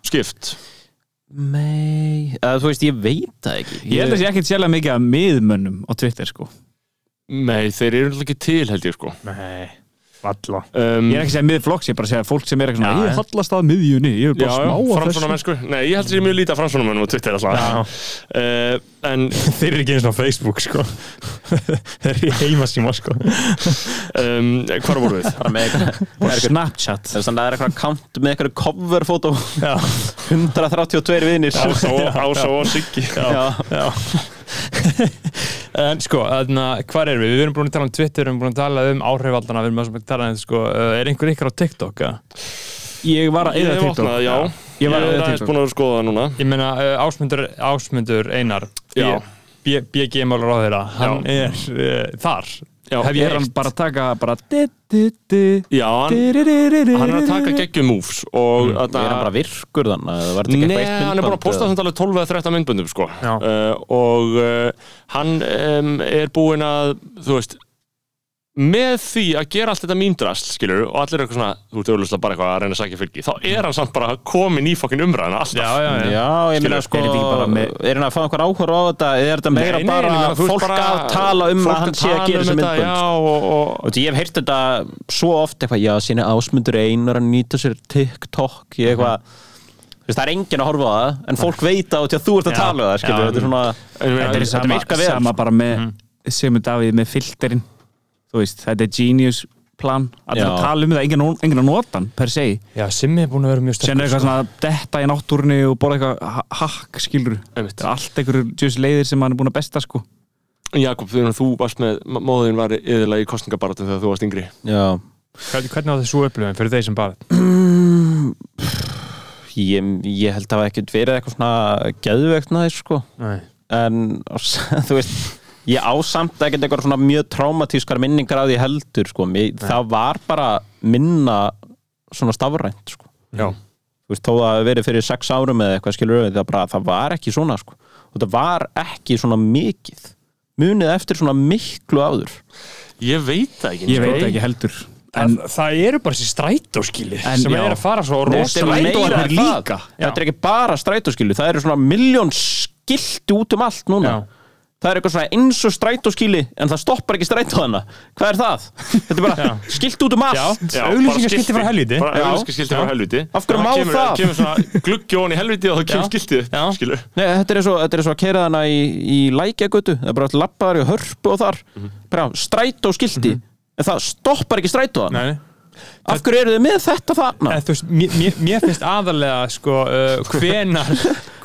skipt
mei, eða þú veist, ég veit það ekki.
ég held að sé ekkert sérlega mikið að miðmönnum á Twitter, sko,
Nei, þeir eru náttúrulega ekki til held ég sko
Nei, valla
um,
ég er ekki að segja miðflokks, ég er bara að segja fólk sem er eitthvað svona,
Já,
ég hallast að miðjunni ég er
Já,
bara smá að
framsvona mennsku Nei, ég held að ég er mjög lítið af framsvona mennum á Twitter alltaf uh, En
Þeir eru ekki eins og á Facebook sko [LAUGHS] Þeir eru í heimasíma sko
um, hvar voru
[LAUGHS]
við?
bara með [LAUGHS] eitthvað,
þessu Snapchat
þess að það er eitthvað kant með eitthvað coverfótó [LAUGHS]
Já,
132 vinir
Ása og, ása og Siggi
[LAUGHS] Já.
já En sko, þarna, hvað erum við? Við erum búin að tala um Twitter, við erum búin að tala um áhrifaldana Við erum að tala um, sko, eh, er einhver ykkar á TikTok? eh? eða?
Ég var að
Ég
eða
hef
TikTok
opnað, já
Ég
Ég
var að
er
eða
aðeins
TikTok
búin að skoða það núna
Ég meina, eh, Ásmundur, Ásmundur Einar
Já.
BG-málar á þeirra Hann er uh, þar
Já.
Hef ég
Er hann bara að taka bara di, di, di,
Já, hann, hann er að taka geggjum moves og mm,
Er hann bara virkur þannig? eða var þetta ekki
Nei,
eitthvað eitt
hann er búin að
myndband
posta
eða?
þannig alveg 12 eða 13 myndböndum sko.
Já.
uh, og uh, hann um, er búin að þú veist með því að gera allt þetta mýndrast skilur og allir eru eitthvað svona, þú ert auðvitað bara eitthvað að reyna að sækja fylgi, þá er hann samt bara komin í fokkin umræðina alltaf
Já, já, já,
Já, ég meina sko,
er þetta ekki bara með-
er hann að fá einhver áhör á þetta eða er þetta meira
Nei, nei,
bara
ég meina, þú veist,
fólk að tala um
fólk
að hann sé að
tala
gera
um
þessi
þetta,
myndbönd
Já, og, og,
Og því ég hef heyrt þetta svo oft eitthvað, já, sína ásmundur einar að nýta sér TikTok ég eitthvað, þú veist, það er enginn að horfa á það en fólk veit á því að þú ert að
Já.
tala um það, skilur,
Já. mm.
þetta er svona
en,
Þetta er sama,
virkar vel,
sama bara með Simon Davíð með filterin Þú veist, þetta er genius plan Allir
Já.
að tala um það, enginn engin að nota hann per se
já Simmi er búin að vera mjög
Sen er
sterkur sko.
eitthvað svona að detta í náttúrunni og borða eitthvað ha- hakk skilur
Einmitt.
Þetta er allt einhverjur djús leiðir sem hann er búin að besta sko
Jakob, þegar þú varst með móðin var yðurlega í kostningabaratum þegar þú varst yngri
já,
Hvernig hvernig á þessu upplifin fyrir þeir sem bara
ég, ég held að það hafi ekkert verið eitthvað svona geðvegt næst, sko
Nei
en á s- [LAUGHS] þú veist ég á samt ekkert eitthvað svona mjög traumatískar minningar að því heldur sko. Mér, það var bara minna svona stafrænt sko.
Já.
Mm.
þú veist, þó að það hafi verið fyrir sex árum eða eitthvað skilur við, það, bara, það var ekki svona sko. og það var ekki svona mikið munið eftir svona miklu áður
Ég veit það ekki
Ég veit það ekki heldur En,
það, það eru bara þessi strætóskili
En
sem
já.
er að fara svo
Þetta er
rosalega
meira en
Strætóarnir
það.
líka Já.
þetta er ekki bara strætóskilu það eru svona miljón skilti út um allt núna
Já.
það er eitthvað svona eins og strætóskili en það stoppar ekki strætóðana hvað er það? þetta er bara skilt út um allt
Já,
Auglýsingaskilti
bara skilti.
frá helvíti.
Bara
Já.
auglýsingaskilti frá helviti
Af hverju má
kemur,
það?
kemur svona gluggi ofan í helviti og þá kemur
Já.
skiltið upp,
Já.
skilur
Nei, þetta er svo, þetta er svo að keira þarna í, í lækjagötu, það er bara allt lappaðar í hörpu og þar, bara strætó skildi en það stoppar ekki strætóðan
Nei, nei.
af hverju eru þið með þetta þarna?
En þú veist, mér, mér- mér finnst aðalega sko, uh, hvenar,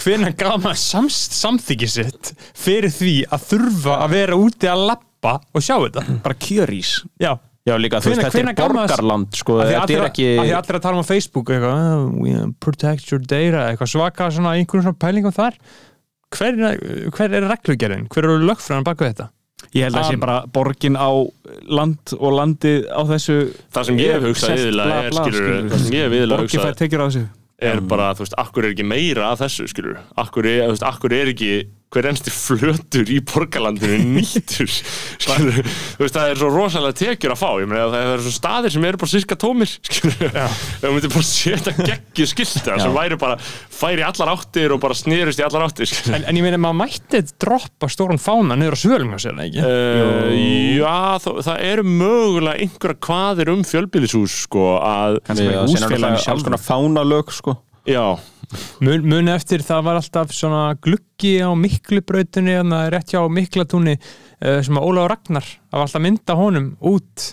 hvenar gaf maður samst, samþyggi sitt fyrir því að þurfa að vera úti að lappa og sjá þetta
bara kjörís
Já,
Já, líka, þú veist,
Hvenær-
þetta er
hvenær gaf maður-
borgarland sko,
að því
þetta
allir
er
að-
ekki
að því allir að tala um á Facebook eitthvað, uh, we protect your data eitthvað svaka svona einhverjum svona pælingum þar hver, er- hver er reglugerðin? Hver eru lögfræðan baka þetta?
Ég held að það sé
Am.
bara borgin á land og landið á þessu
Það sem ég hef hugsað
Sest,
yðurlega
bla,
er,
bla,
skilur,
skilurðu.
það sem ég hef yðurlega
Borgin
hugsað
fær tekjur á þessu
er bara, þú veist, akkur er ekki meira að þessu, skilur, akkur er, þú veist, akkur er ekki hver ennsti flötur í borgarlandinu
[LAUGHS]
nýttur skilur, þú veist, það er svo rosalega tekjur að fá, ég meina, það eru svo staðir sem eru bara sirka tómir, skilur ef við myndum bara setja geggið skilta sem væri bara, færi í allar áttir og bara snerist í allar áttir, skilur
En, en ég meina maður mætti droppa stóran fána niður á svölunga sér ekki?
Uh, já, þó, það eru mögulega einhverja kvaðir um fjölbýlishús sko, að,
Við-
bara
síðan er
húsfélaginu
náttúrulega
sjálfu.
alls konar fánalög sko.
já
Mun, mun eftir það var alltaf svona gluggi á miklubrautinni þannig að rétt hjá miklatúni uh, sem að Ólaður Ragnar það var alltaf mynda honum
[LAUGHS]
út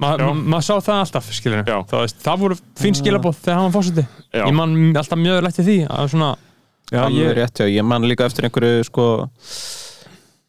Ma- ma- maður sá það alltaf skilur
Já. Mm.
það, veist, það voru fín skilabóð þegar hann var fórseti
Já.
ég man m- alltaf mjög lætti því að svona
Já, ég...
ég-
Rétt, já, ég man líka eftir einhverju sko,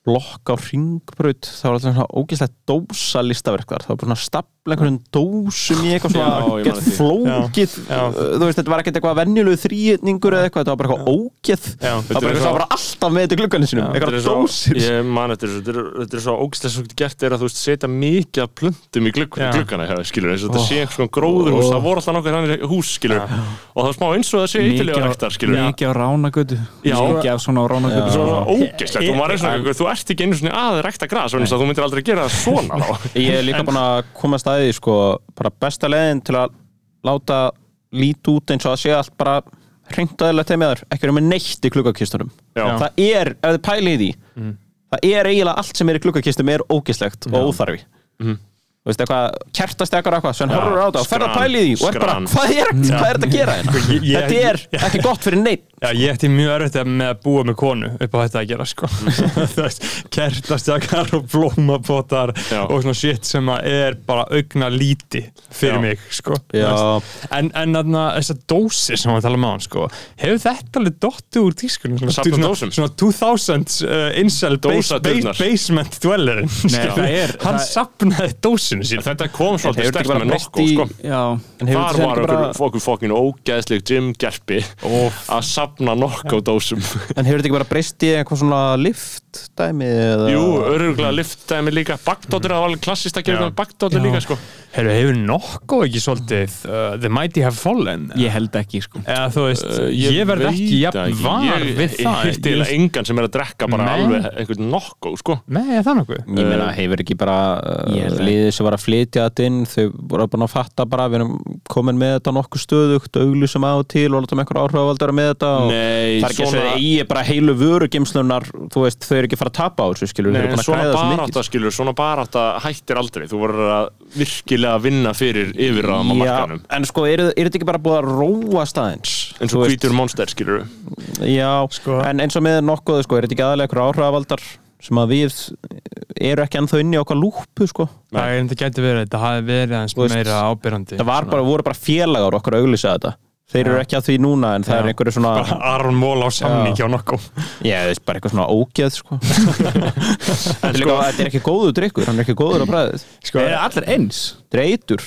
blokk á ringbraut það var alltaf svona ógeðslega dósa listaverklar það var bara svona stapla einhverjum dósum í eitthvað
Já,
svona
ég man
get
eftir því.
flókið uh,
Já, já.
þú veist, þetta var ekkert eitthvað venjulegu þrýetningur eða eitthvað, þetta var bara eitthvað ógeð
Já.
það var bara,
Þetta er
eitthvað,
svo-
það var bara alltaf með þetta glugganum sínum
Þetta er
eitthvað
svo-
dósir
Ég man eftir þessu, þetta er- þetta er svo ógstlega svo gert er að þú veist setja mikið af plöntum í glugg,
Já.
gluggana, hefði, skilur eins og þetta sé einhvers konar gróðurhús, það voru alltaf nokkuð þannig hús, skilur, og það er smá eins og það sé eitthvað rektar, skilur,
mikið á ránagötu
Já.
Mikið af svona á ránagötu sko.
svona ógæslegt og maður er svona, eitthvað, þú ert ekki einu svona að rekta gras, þannig að þú myndir aldrei gera það
[LAUGHS]
svona þá.
Ég er líka búin að koma að staði sko, bara besta leiðin til að láta lít út eins og að sé allt bara hreint aðeinslega teimiðar ekki erum með neitt í klukkakistunum
Já. Mhm.
það er, ef þið pælið í því það er eiginlega allt sem er í klukkakistum er ógislegt og óþarfi
Mhm.
Þú veist eitthvað, kertastekar eitthvað sem horfur á þetta og ferð að
skran,
pæli því og er bara,
skran.
hvað er, hvað er þetta að gera
Sko,
hérna?
Ég- ég-
Þetta er ekki gott fyrir neitt
Já, ég ætti mjög erfitt með að búa með konu upp á þetta að gera sko [LAUGHS] Þú veist, kertastakar og blómapotar
Já.
og svona shit sem að er bara augna líti fyrir
Já.
mig sko Þú veist, En, en þarna, þessa dósi sem við talaðum á hann sko, hefur þetta alveg dottu úr tískunum svona,
Safna
svona,
dósum?
svona 2000s uh, incel base,
Dósadurnar.
base, basement dwellerin skilur.
það er-
hann
það-
sapnaði dósinu sín
Þetta kom svolítið
hefur þetta
sterkt
bara
með
breyst
nokkuð,
í-
sko.
Já,
En hefur
Þar
þetta
var
ekki bara-
okkur, okkur fokkin ógæðsleg Jim Gerpi að safna nokkuð dósum
En hefur þetta ekki bara breyst í eitthvað svona lift dæmi eða
Jú, öruglega liftdæmi líka Bakdóttur, það var alveg klassist að gera
Já.
þetta bakdóttur
Já.
líka sko.
hefur, hefur nokkuð ekki svolítið uh, the mighty have fallen
ég held ekki sko
eða þú veist,
Uh,
ég, verð
veit
ekki jafn
ekki.
var
Ég-
við það
Ég hitti eiginlega engan sem er að drekka bara
Nei.
alveg einhvern nokkuð sko.
Nei, er það nokkuð?
Ég
Eh,
meina, hefur ekki bara
Ég
uh,
held að-
liðið sem var að flytja þetta inn þau voru búin að fatta bara við erum komin með þetta nokkuð stöðugt auglýsum á og til og látum einhver áhrifavaldara með þetta og
Nei,
það er ekki svona...
svona-
að eigi bara heilu vörugemslunar þú veist, þau eru ekki að fara að tapa á þessu skilur, þau
Nei, en
eru búin að
svona
græða þessu
barátta
mikið
skilur, svona barátta hættir aldrei þú voru að virkilega vinna fyrir yfirraðum á markanum
en sko, er, er þetta ekki bara búið að róa staðins
eins og hvítur monster skilur
já,
Sko-
en eins og með nokkuð sko, er þetta ekki aðalega einhver áhrifavaldar sem að við eru ekki ennþá inni á okkar lúpu sko.
Það er enda gæti verið, þetta hafi verið aðeins
Þú veist,
meira ábyrrandi
það var bara, voru bara félagar okkar að auglýsa þetta þeir eru ekki að því núna en það
Já.
er einhverju svona
Aron Mól á samning hjá nokkuð
Já, það er bara eitthvað svona ógeð sko. Þetta er líka- þetta er ekki góður drikkur hann er ekki góður á bræðið
sko,
Er allir eins?
Þetta er eitur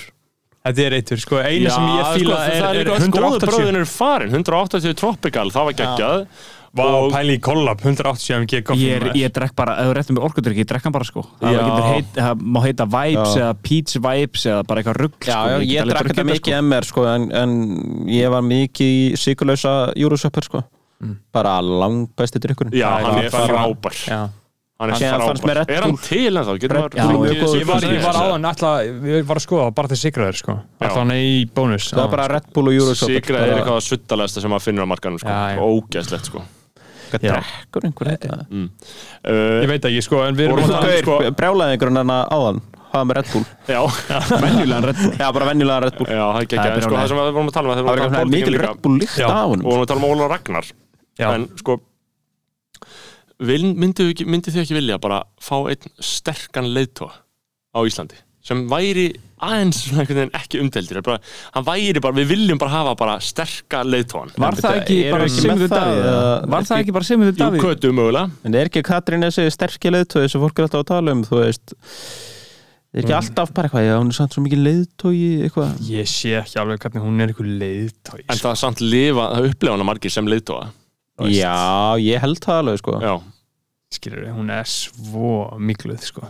Þetta er eitur, sko, eina sem ég fíla
það er
er,
líka
er
góðu
180
bröðin er farin 180 tropical, það var geggjað
Vá, pæli í kollab, 180 MG koffín
Ég, er,
maður.
ég drekk bara, ef þú réttum mér orkudrykk, ég drekk hann bara sko Það,
Já.
getur heit, það má heita Vibes
Já.
eða Peach Vibes eða bara eitthvað rugg
Já,
sko.
já,
get
ég
alveg
drakk þetta
drukkið
mikið MR sko, en, en ég var mikið í sykulösa júrusöppur sko. bara langbæsti drikkurinn
Já, hann er
bara-
frábær
Já,
hann er
Síðan fannst mér
frábær
Red
er hann
Bull-
til en þá, getur
Red
maður
Bull
fengið
mjög góður
þessu
Ég var,
upplýsingar?
ég var áðan alltaf, ég var að skoða bara til sigraður sko
Já.
Alltaf hann í bónus
það var bara Red Bull og Eurosopa
Sigrað er eitthvað að suttalegsta sem maður finnur á markanum sko.
Já, já.
ógæslegt sko.
eitthvað drekkur einhver eitthvað
uh,
Ég veit ekki sko, en við
Vorum
erum
að-
alltaf
Gaur,
Sko, brjálaði einhvern hann áðan hafa með Red Bull
Uh, já,
venjulegan Red Bull já, bara venjulegan Red Bull
já, það er ekki
Það er
en sko,
brjálað.
það sem við vorum að tala um að þeir
það var
voru að tala
eitthvað
um
mikil
pólitíkina
Red Bull líkt
Já.
á
og
honum
vorum að tala um Óla Ragnar
Já.
en sko vil, myndi, ekki, myndi þið ekki vilja bara fá einn sterkan leiðtóa á Íslandi sem væri aðeins svona einhvern veginn ekki umdeldir bara, hann væri bara, við viljum bara hafa bara sterka leiðtóan
Var það
Bíddu,
ekki
erum
bara
við ekki
Sigmundur
með það,
Davíð?
eða-
Var það ekki bara Sigmundur
Jú,
Davíð?
kötu mögulega
en er ekki Katrín þessi sterkja leiðtói sem fólk er alltaf að tala um þú veist er ekki alltaf bara eitthvað já, hún er samt svo mikið leiðtói eitthvað
Ég sé ekki alveg hvernig hún er einhver leiðtói
en það er samt lifa, það upplefa hana margir sem leiðtóa
já, ég held það alveg sko
já,
skilur við, hún er svo mikluð sko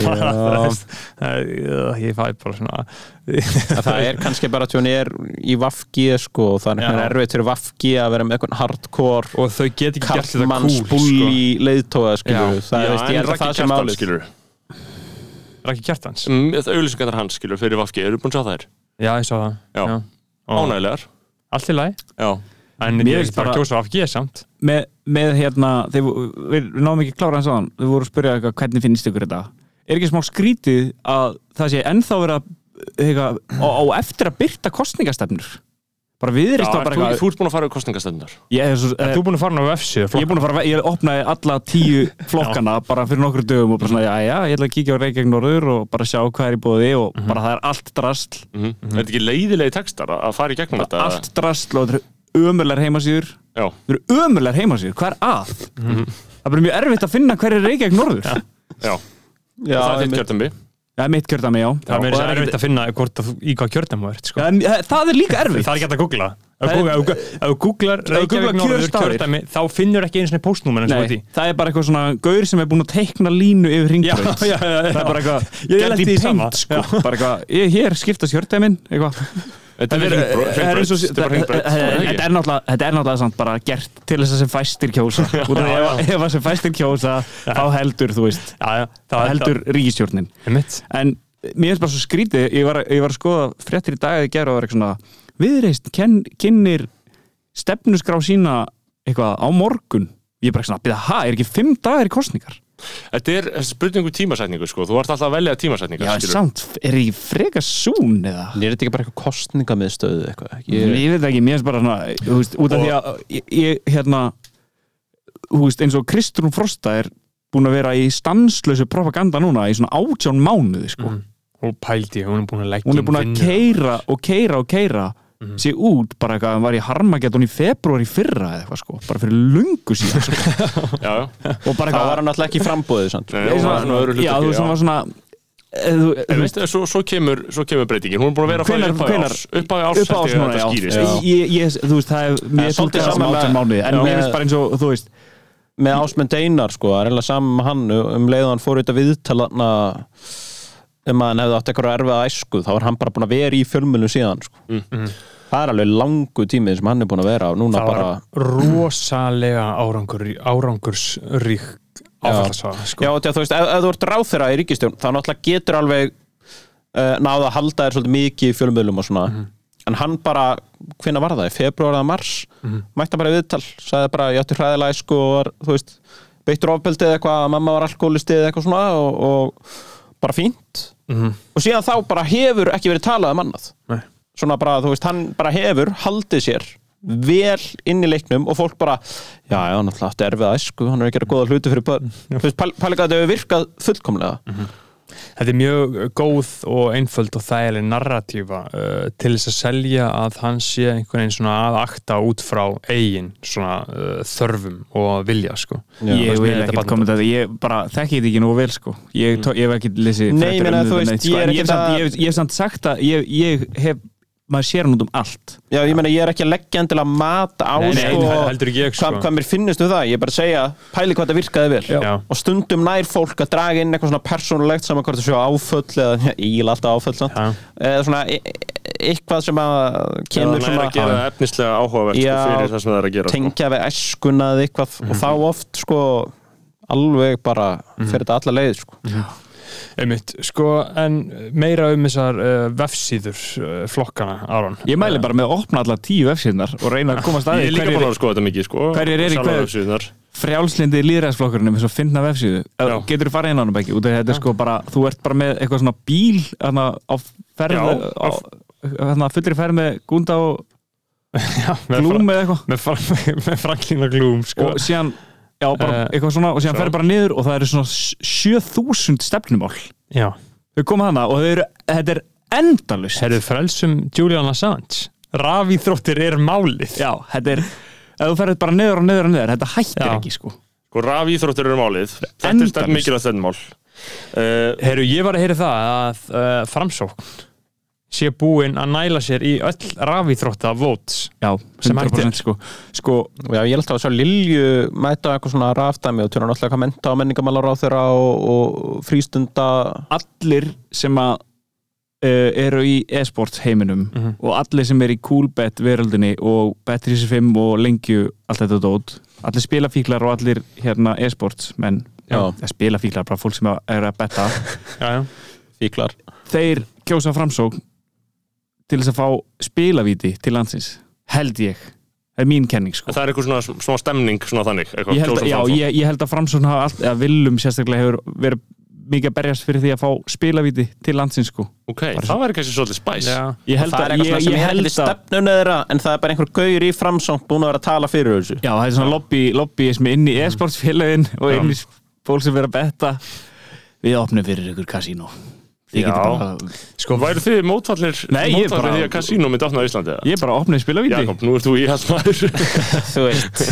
bara, það
Já.
veist, það er- ég fæ bara svona
Að [LAUGHS] það er kannski bara að hún er í Vafgi sko, og það er
Já.
einhvern erfitt fyrir Vafgi að vera með eitthvað hardcore
og þau get ekki gert þetta
kallmann
cool sko.
spúli leiðtóa skilur
Já.
við. það
já
er veist, ég held að það sem
Kjartan,
álið
skilur
Raki Kjartans
auðlýsingarnar hans skilur fyrir Vafki, eru búin að sjá þær
já, ég sá það
Já.
Og
ánægilegar
allt í lagi
já,
en
Mér
ég
finnst
veist bara
bara-
að kjósa AFG samt
með, með hérna þeir, vo- við, við náum ekki að klára hans aðan við vorum að spyrja eitthvað hvernig finnst ykkur þetta er ekki smá skrítið að það sé ennþá vera eitthvað, á, á eftir að byrta kostningastefnur bara
já
viðrist var bara
þú,
eitthvað
þú ert búin að fara við kostningastöndar
ég, er svo,
er
eh,
þú búin að fara ná F7
ég er búin að fara ég opnaði alla
[LAUGHS]
tíu flokkana bara fyrir nokkru dögum og bara svona já já ég ætla að kíkja á Reykjavík Norður og bara sjá hvað er í bóði og
Mhm.
bara það er allt drasl
mm er þetta ekki leiðilegi textar að- að fara í gegnum þetta
allt drasl og þetta eru ömurlegar heimasýður
já,
þetta eru ömurlegar heimasýður hvað er að
Mhm.
það er bara mjög erfitt að finna hver er Reykjavík Norður
já,
Já,
það er þitt
einmitt.
kjörtumbi
Það er mitt kjördæmi, já.
það er
Og
mér
það
er
er
erfitt að finna hvort að, þú- í hvað kjörnum þú ert sko.
Já, en eh, Það er líka erfitt
það er ekki hægt að googla Ef
Það
þú
er-
googlar- ef þú googlar Reykjavík
googlar
Norður
kjörstaðir.
kjördæmi þá finnur ekki einu sinni póstnúmer eins og
Nei,
því
það er bara eitthvað svona gaur sem er búin að teikna línu
Já,
yfir [LAUGHS] ringbraut
já, já, já.
Það er bara eitthvað,
Ég
get
lenti
í
í sama.
paint, sko. bara eitthvað, ég, hér skiptast kjördæmin eitthvað
Þetta er hringbraut,
Það er eh, eins og-
þetta er bara hringbraut,
það-
er það
Þetta
ekki?
er náttúrulega þetta er náttúrulega samt bara gert til þess að sem fæstir
[LAUGHS]
kjósa Út af því ef- ef að sem fæstir kjósa þá heldur, þú veist,
já, já,
þá heldur ríkistjórnin
Einmitt.
en mér finnst bara svo skrítið ég var, ég var að skoða fréttir í dag að gera og var eitthvað svona viðreist ken, kynir stefnusgrá sína eitthvað á morgun ég er bara svona, býða, ha, er ekki fimm dagar í kostningar
Þetta er spurningu tímasetningu sko, þú ert alltaf að velja tímasetningu
já, en samt, er ekki freka sún eða
En er þetta ekki bara eitthvað kostningamiðstöðu eitthvað?
ég,
Ég,
veit ekki, mér finnst bara svona þú veist, út af því að ég, ég hérna þú veist, eins og Kristrún Frosta er búin að vera í stanslösu propaganda núna í svona átján mánuði sko.
og pældi, hún er búin að leggja um
hún er
inn
búin að
vinnu.
keira og keira og keira mm. sér út bara eitthvað, hann var í harmagettun í februar í fyrra eða eitthvað sko, bara fyrir lungu síðan sko.
Já, já,
og bara
það
eitthvað
var hann alltaf ekki í framboðið samt.
Nei, hún var nú öðru hluti
já, þú veist, hún var svona eh, þú-
En veistu, svo, svo, kemur, svo kemur breytingin, hún er búin að vera
Hvenær-
frá
hvenær-
upphafi árs Upphafi árs, held ég
upp á
að
ásmána,
þetta
já,
skýrist
já. Ég, ég, þú veist, það er
er
mér
svolítið
tólkað sem
sama með-
átján mánuði en
Já.
mér finnst bara eins og, þú veist
Með Ásmund Einar sko, það er eiginlega saman með hann um leið og hann fór auðvitað viðtalanna um að hann hefði átt eitthvað erfið æsku þá er hann bara búin að vera í fjölmjölu síðan sko. Það er alveg langu tímið sem hann er búin að vera og
Mm.
núna
það
bara...
var rosalega árangur, árangursrík áfallasvaða
Já,
sko.
og þú veist, ef, ef þú ert ráþeira í ríkistjón þá náttúrulega getur alveg uh, náða að halda þér svolítið mikið í fjölmiðlum og svona en hann bara, hvenna var það? Í februar eða mars? Mætti bara í viðtal sagði bara, ég átti hræðilega sko og var, þú veist, beittur ofbeldið eða eitthvað að mamma var alkoholistið eða eitthvað svona og, og bara fínt og síðan þá bara hefur ekki verið talað um annað
Nei.
svona bara, þú veist, hann bara hefur haldið sér vel inn í leiknum og fólk bara, já, já, hann alltaf átti erfið að sko, hann er að gera góða hluti fyrir börn þú veist, pælega þetta hefur virkað fullkomlega
þetta er mjög góð og einföld og þægileg narratífa uh, til þess að selja að hann sé einhvern veginn svona að akta út frá eigin svona uh, þörfum og vilja sko.
ég
Þú veist,
vil
þetta
ekki
bara-
kommenta þetta, ég bara þekki þetta ekki nú vel sko ég, tó, ég hef ekki lesið
Nei,
fréttir
ég meina,
um
þú
þetta
veist,
neitt, sko.
ég er
En
ekkert
hef samt-
að-
ég hef- ég hef samt sagt að ég, ég hef, maður sér hann út um allt
já, ég meina, ég er ekki að leggja endilega mat á
Nei, nei,
sko,
heldur ekki ég, sko.
hvað, hvað mér finnist um það, ég er bara að segja pæli hvað þetta virkaði vel
Já.
og stundum nær fólk að draga inn eitthvað svona persónulegt saman hvort það séu áföll eða [LAUGHS] íl alltaf áföll samt.
Já.
eða svona e- e- eitthvað sem að
Það
kemur
er að gera það efnislega áhugavert sko,
Já,
fyrir það sem það er að gera sko.
Mhm. tengja við æskuna eða eitthvað og þá oft sko alveg bara fyrir þetta alla leið sko.
Einmitt, sko, en meira um þessar uh, vefsíður uh, flokkana, Aron.
Ég mæli bara með að opna alla tíu vefsíðnar og reyna að komast
Ég
aðeins
er líka búin að sko þetta mikið sko
hverjir eru í
Sjálfar
hverju?
vefsíðurnar.
frjálslindi líðræðsflokkurinn um þess að finna vefsíðu
Já.
getur þú farið inn á hann ekki út af því að þetta er sko bara þú ert bara með eitthvað svona bíl hana, á ferð
Já,
á, hana, fullri ferð með gunda og
Með
glúm eða eitthvað
Fra, með, fra, [LAUGHS] með Franklin og Gloom, sko.
og síðan já, bara
Eh,
eitthvað svona og síðan
svo.
ferð bara niður og það eru svona sj- 7000 stefnumál
já.
þau koma hana og þau eru, þetta er endalust
Herðu frelsum Julian Assange. Rafíþróttir er málið.
já, þetta er ef þú ferð bara niður og niður og niður þetta hættir
Já.
ekki sko
Sko rafíþróttur eru málið Þetta er
Endalaust.
stend mikilvægt stendmál uh,
Herru, ég var að heyra það að uh, framsókn sé búinn að næla sér í öll rafíþrótta votes.
já,
Sem hægt er.
100% sko, sko
Já, ég held að sjá Lilju mæta á eitthvað svona rafdæmi og tjóna náttúrulega menta og menningamálar á þeirra og, og frístunda
allir sem að uh, eru í e-sports heiminum
Mhm.
og allir sem eru í coolbet veröldinni og bet365 og lengju allt þetta dót, allir spilafíklar og allir hérna e-sports menn
Já.
Eða spilafíklar, bara fólk sem eru að betta
Já, já.
fíklar
þeir kjósa framsókn til þess að fá spilavíti til landsins, held ég það er mín kenning sko
Það er eitthvað svona smá stemning svona þannig eitthvað,
ég held, að,
kjósa
já,
Framsókn.
ég, ég held að Framsókn hafa allt, eða Willum sérstaklega hefur verið mikið að berjast fyrir því að fá spilavíti til landsins sko
Ok, það væri kannski svolítið spæs
ég held
Það
að,
er eitthvað
ég,
svona sem
ég
er ekkert
held
í
að
stefnunni þeirra en það er bara einhver gauður í framsóng búin að vera að tala fyrir þessu
Já, það er svona lobby, lobbyismi inn í e-sportsfélagin og inn í fólk sem vera að betta Við opnum fyrir ykkur kasínó Þið
Já.
getur bara
Sko, væru þið mótfallir
Nei, ég
mótfallir
bara-
því að kasínum myndi opna á Íslandi eða?
Ég bara opnaði spilavíti
Jakob, nú ert þú í hans maður
[LAUGHS] Þú [LAUGHS] veist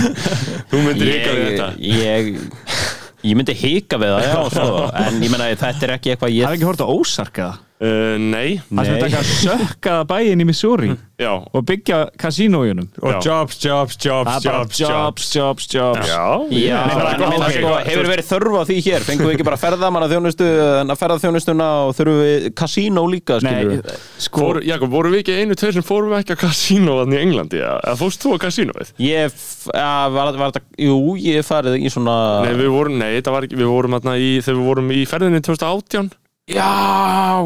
Þú myndir hika við
ég,
þetta
ég, ég myndi hika við það, já, [LAUGHS] svo, en ég meina þetta er ekki eitthvað
Það er
ég
ekki hort á ósarka
uh, Nei,
Það sem
Nei.
taka sökkaða bæinn í [LAUGHS] Missouri
já
og byggja kasínójunum
Og
Já.
jobs, jobs, jobs,
Það er bara
jobs, jobs.
jobs, jobs, jobs
Já,
Já,
Nei, bara
en ég
gott,
meina,
ok,
sko,
gott.
hefur verið þörf á því hér fengum við ekki bara ferðamanna þjónustu en að ferða þjónustuna og þurfum við kasínó líka skilur
Nei,
við
sko
Fór, Jakob, vorum við ekki einu tveir sem fórum ekki að kasínó þannig í Englandi, eða eða fórst þú að kasínóið?
Ég, f- ja, var, var þetta, jú, ég hef farið í svona
Nei, við vorum, nei, það var ekki, við vorum aðna í, þegar við vorum í ferðinni 2018
Já,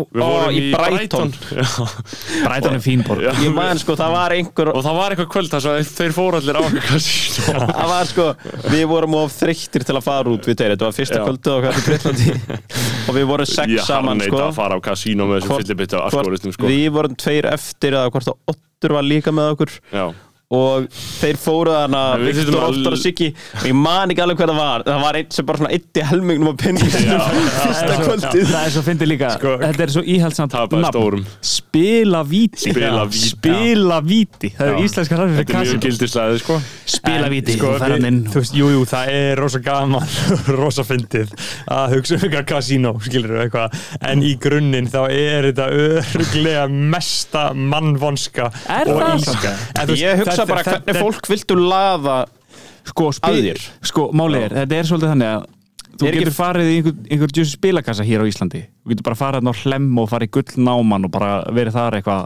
Við
ó,
vorum
í Brighton
Já,
Brætan er fínborg
[LAUGHS] já.
Ég man sko, það var einhver
[LAUGHS] Og það var eitthvað kvöld þar sem þeir fóru allir á [LAUGHS] eitthvað kasínó
Það var sko, við vorum of þreyttir til að fara út við þeir, þetta var fyrsta
Já.
kvöldu og hvað fyrir Breitlandi og við vorum sex
Ég
saman
harneita
sko
að fara á kasínó með þessum
Hvort-
fyllibitt á alkoholistum
hvort
sko
Við vorum tveir eftir eða hvort að Ottur var líka með okkur
Já,
og þeir fóruð hana
Nei, við
Viktor,
þyrftum að-
Óttar og Siggi og ég man ekki alveg hvað það var það var einn sem bara svona ytti helmingnum á
Já,
penningnum fyrsta kvöldið
Það er svo fyndið líka
Sko,
Þetta er svo íhaldsamt
tapaði
nafn.
stórum
Spilavíti
Spilavíti.
Spilavíti Það er
Já.
íslenska ræður
Þetta er mjög gildislega, sko
spilavíti
Sko,
og ferðan
við-
inn
Þú veist, jú, jú, það er rosa gaman [LAUGHS] rosa fyndið að hugsa um eitthvað kasínó, skilur við eitthvað en í grunninn þá er þetta öruglega mesta mannvonska
Er
og
það?
illska. En þú veist,
ég hugsa
þetta-
bara
þetta-
hvernig fólk viltu laða
sko,
að
spil,
þér.
sko málið er, þetta er svolítið þannig að þú
Er ekki-
getur farið í einhver, einhver djössu spilakassa hér á Íslandi þú getur bara farið þarna á hlem og farið í gullnáman og bara verið þar eitthvað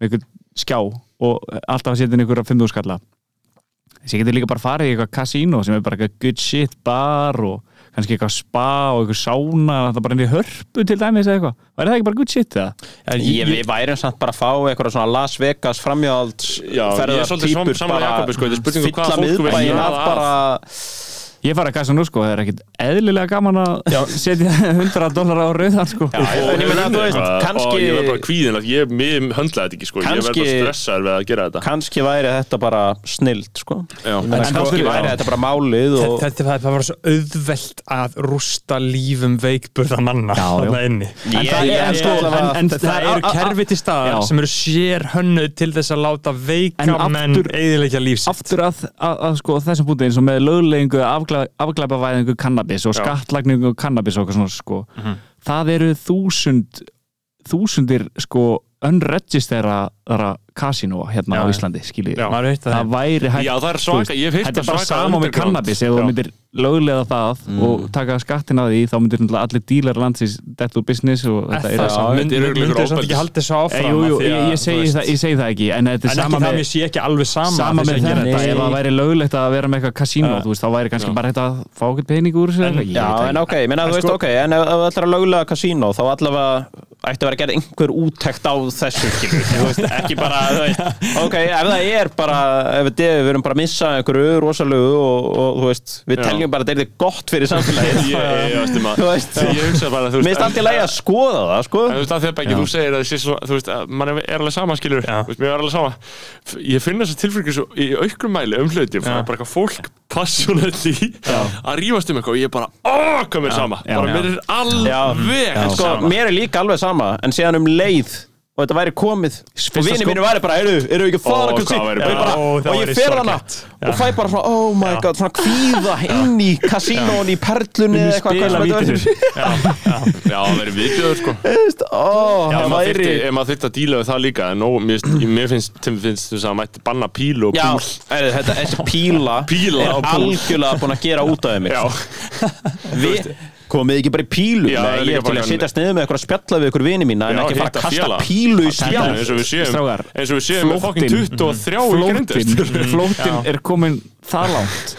með einhver skjá og alltaf að setja inn einhverja fimmúskalla þessi getur líka bara farið í eitthvað kasínó sem er bara eitthvað good shit bar og kannski eitthvað spa og eitthvað sána það er bara inn í hörpu til dæmis eða eitthvað væri það ekki bara good shit eða?
En
Ég, við værum samt bara að fá eitthvað svona Las Vegas framjáhalds
Já, ég er svolítið sam- sammála Jakobi, sko, þetta er spurning um hvað
fylla
fólk vill
miðbæinn
laða
af
að.
bara
Ég farið að kassa nú sko, það er ekkit eðlilega gaman að setja 100 dólar á rauðan sko
Já, já. En ég meina, þú veist,
Eitthvað,
kannski-
og ég verð bara kvíðin að ég, ég höndlaði þetta ekki sko, ég verð bara
Kannski-
stressaður við að gera þetta
kannski væri þetta bara snild sko.
Já.
En
en
þá
kannski
þurfum-
væri
já.
þetta bara málið
Sko-
og
þetta þetta- það var svo auðvelt að rústa lífum veikburða manna
Já, já.
þarna inni
Ég-
það
ég
er-
held
sko,
allavega
en,
að
en
þetta-
það
a-
eru
a- a-
kerfi til staðar
Já.
sem eru sér hönnu til þess að láta veika
En
menn
aftur-
eðilegja lífsitt
aftur að, að, að sko, þessum punkti eins og með löglegningu, afgla- afglæpavæðingu kannabis og skattlagningu
Mhm.
kannabis og eitthvað svona sko. það eru þúsund þúsundir sko unregistera kasínóa hérna
Já,
á
já.
Íslandi, skiljið
Já, maður veit það.
það væri hægt
Já, það er
þú veist,
svaka, ég hef hýrt
þetta er bara sama með kannabis ef þú myndir löglega það
Mm.
og taka skattin að því, þá myndir náttúrulega allir dílar landsins dett úr business og þetta er
samt- Myndir
mynd, myndir
örugglega
myndir samt
ofbeldis.
ekki haldið svo
Eh,
áfram
jú,
af
jú,
því
ég,
að,
ég, segi
þú veist,
það, ég segi það ekki en þetta er
en
sama
ekki það
með,
ég sé ekki alveg sama
sama
af því
með
sem ég er að
þetta
gera.
ef það væri löglegt að vera með eitthvað kasínó
Já.
þú veist, þá væri kannski bara hægt að fá eitthvað pening úr þessu eða eitthvað, ég
Já,
veit það
en ok, ég meina,
En
þú veist,
sko-
ok, en ef ef það ætlar að lögulega kasínó, þá allavega ætti að vera að gera einhver úttekt á þessu, skilur, við, þú veist, ekki bara, þú veist, ok, ef það er bara, ef við, við erum bara að missa einhverju rosalegu og, og þú veist, við
Já.
teljum bara að þetta er gott fyrir samfélagið,
Ég, ég, ég, veist,
þú
maður,
veist,
ég hugsa bara, þú
mér finnst allt í lagi að skoða það, sko,
En þú veist að þegar ekki þú segir að það sé svo, þú veist, að mann er alveg sama, skilur,
Já.
þú veist, mér er alveg sama. F- Ég finn þess að tilfengjum svo í aukrum mæli um hluti, það er bara eitthvað fólk passionately að rífast um eitthvað og ég er bara, óh, hvað mér er sama,
Já.
bara mér er alveg
en sko,
sama.
mér er líka alveg sama, en séðan um leið, og þetta væri komið og
Fyrsta
vinið
sko-
mínu væri bara, eru eru ekki að
Ó,
fara
hvað
kannski?"
væri
og
bara-
ég bara,
Ó, það
og ég
væri
fer hana
sorglegt.
og fæ bara svona, oh my god, svona kvíða inn í kasínón í perlunni eða eitthvað hvað
spila
sem þetta
víti.
verður.
Já, það verður viðbjöður, sko.
[LAUGHS] Þú veist, ó,
Ef
það
maður
væri
þyrfti- ef maður þurfti að díla við það líka, en nóg, mér, finnst- mér finnst, Tim finnst þess að mætti banna pílu og
já,
púl.
er, þetta, þessi píla,
[LAUGHS] Píla
er
og púl.
algjörlega búin að gera út af mig
Já,
við komið ekki bara í pílu
Já,
Nei, ég
líka
er til
bara
að
en-
sitja sniðum með eitthvað að spjalla við ykkur vini mína en
Já,
ekki fara
hitta
að kasta
félaga.
pílu í
Já,
spjall
eins og við séum,
Strákar,
eins og við séum með fokkin
flóttin.
23 í grindist.
[LAUGHS]
flótin, flótin er komin það langt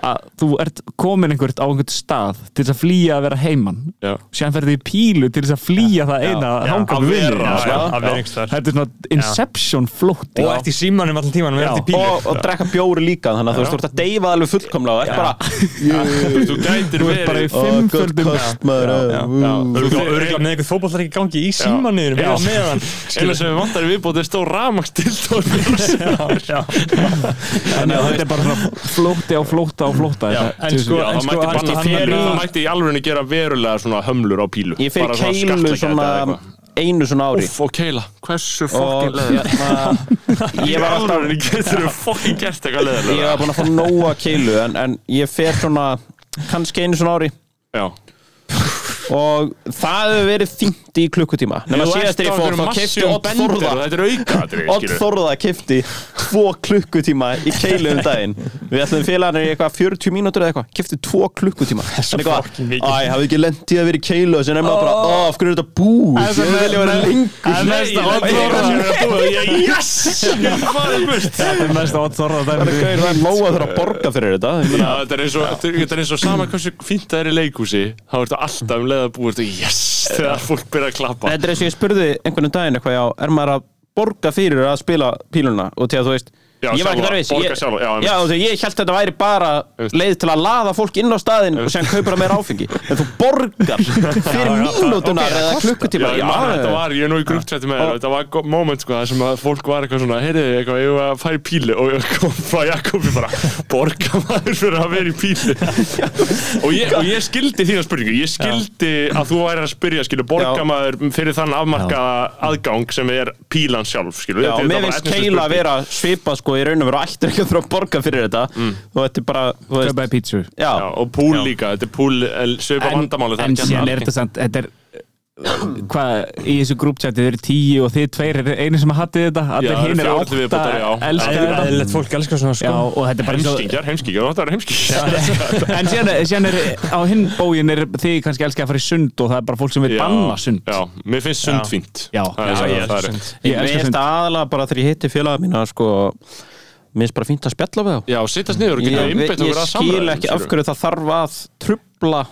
að þú ert komin einhvert á einhvert stað til þess að flýja að vera heimann
Já.
sem ferði í pílu til þess að flýja það eina
Já,
hanga
að
við
vera,
vinurinn,
Já,
sko.
að vera einhvers staðar.
þetta er svona inception flótti
og ert í símanum allan tímanum ert í pílu
og, og drekka bjóri líka þannig að þú veist, þú ert að deyfa alveg fullkomlega og ekki bara, "Oh,
Þú veist, þú gætir
þú ert bara í
verið
fimmföldum
uh,
Örgulega örgulega með eitthvað fótbollar ekki í gangi í símanniðinu við að
[LAUGHS]
meðan
[LAUGHS] eina sem við vantar í viðbót er stór rafmagnstildóð
þannig að þetta er bara svona flótti á flótta á flótta
Já,
þetta-
en sko-
Já, það
en
mætti
hann-
banna
hann-
fyrir
hann-
Það mætti í alveg gera verulega svona hömlur á pílu
ég fer
Bara
í keilu
skattleggja
svona um,
þetta eða eitthvað.
einu svona ári
Úff, og keila, hversu
og
fokkin leður
hérna, ég var alltaf
alveg getur þú fokkin gert eitthvað
ég
leðilega
var búin að fá nóga keilu en, en ég fer svona kannski einu svona ári
Já,
og það hefur verið fínt í klukkutíma nema
Þú
síðast
ert
þegar
á
ég
einhverjum
fór þá kefti
massífum
Odd
bender og
Þorða
Þetta er auka
Odd Þorða kefti tvo klukkutíma í keilu um daginn við ætlum félagarnir í eitthvað 40 mínútur eða eitthvað kefti tvo klukkutíma Hann eitthvað,
fucking mikið. Oh.
æ, hafði ekki lendið að vera í keilu og sem nefnum bara, ó, af hverju er þetta búið ég hefði viljað vera lengur
Yes,
[LAUGHS]
ég farið burt
þetta er mest áttþorra
Það er gaur, það er móa þurfa að borga fyrir þetta Ég meina,
Já, þetta er eins og, þetta er eins og sama hversu fínt það er í leikhúsi þá ertu alltaf um leið að búa ertu, yes, þegar fólk byrja að klappa
Þetta er eins og ég spurði einhvernum daginn eitthvað já, er maður að borga fyrir að spila píluna og til að þú veist
Já,
ég var ekki
sjálfa,
þarfis
borga
ég,
sjálfa, já, einmitt.
já, þú veist, ég held þetta væri bara leið til að laða fólk inn á staðinn og sem kaupir að
[LAUGHS]
meira áfengi en þú borgar fyrir mínútunar eða klukkutíma
Já, ég man að þetta var, ég er nú í grúptrætti með þér og Þetta var gott moment sko, það sem að fólk var eitthvað svona Heyriði, eitthvað, ég var að fara í píli Og ég kom frá Jakobi bara Borga maður fyrir að vera í píli og, ég, og ég skildi þína spurningu Ég skildi að þú væri að spyrja skilu, Borga
Já.
maður fyrir þann afmarkaða aðgang Sem er pílan sjálf skilu.
Já,
Þetta er
mér
bara
finnst
efnisleg
keila að
spurning.
vera svipa sko í raun og vera ættir ekki að þurfa að borga fyrir þetta þú veit, bara, þú veist,
kaupa í pítsu
já,
Mm. Já, og púl líka, þetta er eh, púl Sveipa
en,
vandamáli
en síðan er þetta samt þetta er eh, hvað, í þessu grúpchati þeir eru tíu og þið tveir eru einu sem að hattu þetta
Já,
allir
það eru
hinn eru
fjórir til
átta
viðbótar, já.
elska
Já,
þetta
eðlilegt fólk elskar svona
já,
sko
og þetta er bara eins og-
Heimskingjar, heimskingjar, það er heimskingjar
en síðan, er- síðan er á hinn bógin er þið kannski elska að fara í sund og það er bara fólk sem vil banna sund
Já, mér finnst sund fínt
Já.
það er,
Já,
það
ég
er, það er,
elska sund.
Ég
ég
elska
veist
sund.
aðalega bara þegar ég hitti félaga mína sko, mér finnst bara fínt að spjalla við þá
Já, sittast niður og geta
ég,
einbeitt
ég
okkur að
skil
samræðum,
ekki af hverju það þarf að trubla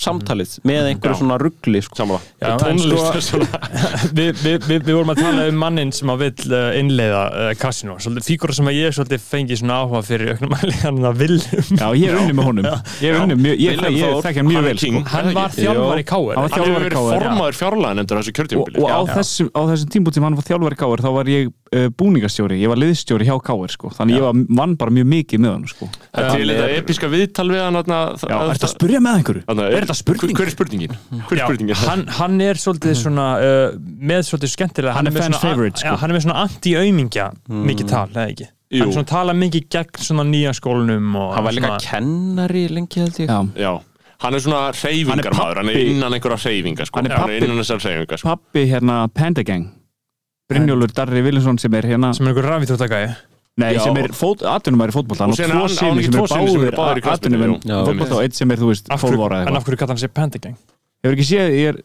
samtalið með einhverju svona ruggli sko.
Sammála
Já, en
Tónlist
sko-
er svona
við, við, við, við vorum að tala um mannin sem að vill uh, innleiða uh, kasino svolítið fíkura sem að ég svolítið fengi svona áhuga fyrir auknumæli hann að Viljum
já, ég er unni með honum ég er unni, mjög- ég,
Willem
ég, ég
Þór,
þekki hann mjög
hann er
vel sko.
king.
hann var þjálfar í
Hann
K.R.
var
Hann hefur
þjálfari
verið
KR, já.
formaður fjárlagan endur þessu
og,
kjörtjömbili
og á, þessum, á þessum tímbúti sem hann var þjálfari káir þá var ég uh, búningastjóri, ég var liðstjóri hjá káir sko. þannig ég var, vann bara mjög mikið með hann sko.
Það er til
hann
þetta
er-
episka viðtal við hann þarna,
já,
það-
er
það-
þetta að spyrja með einhverju?
þarna,
er þetta spurning?
Hver er spurningin? Hver er spurningin?
hann, hann er svolítið svona uh, með svolítið skemmtilega
Mhm. Hann er
með
fans
svona-
favorite, sko. Mhm.
já, hann er með svona anti-aumingja mikið tal, eða ekki
Jú.
hann svona tala mikið gegn svona nýja skólunum og
hann var líka
svona,
kennari lengi held ég
Já.
Já Hann er svona
Hann er
reyfingar maður Hann er
pabbi.
innan einhverja reyfinga sko.
Hann er
Hann er
pabbi.
innan þessar reyfinga sko.
pappi hérna Pandagang Brynjólfur Darri Viljansson sem er hérna
sem er einhver rafíþróttagæði
Nei,
Já.
sem er fót, atvinnumæri fótbolta hann
Og
á
síðan
tvo
hann- hann
síni
í
sem
tvo syni sem
er
eru báðir í
báðir
knattspyrnu,
atvinnumæri
já. Já,
fótbolta og eitt sem er, þú veist,
Af
12 ára
hverju- en af
eða eitthvað
hverju kallar hann sér Pandagang
Hefur ekki séð, ég er,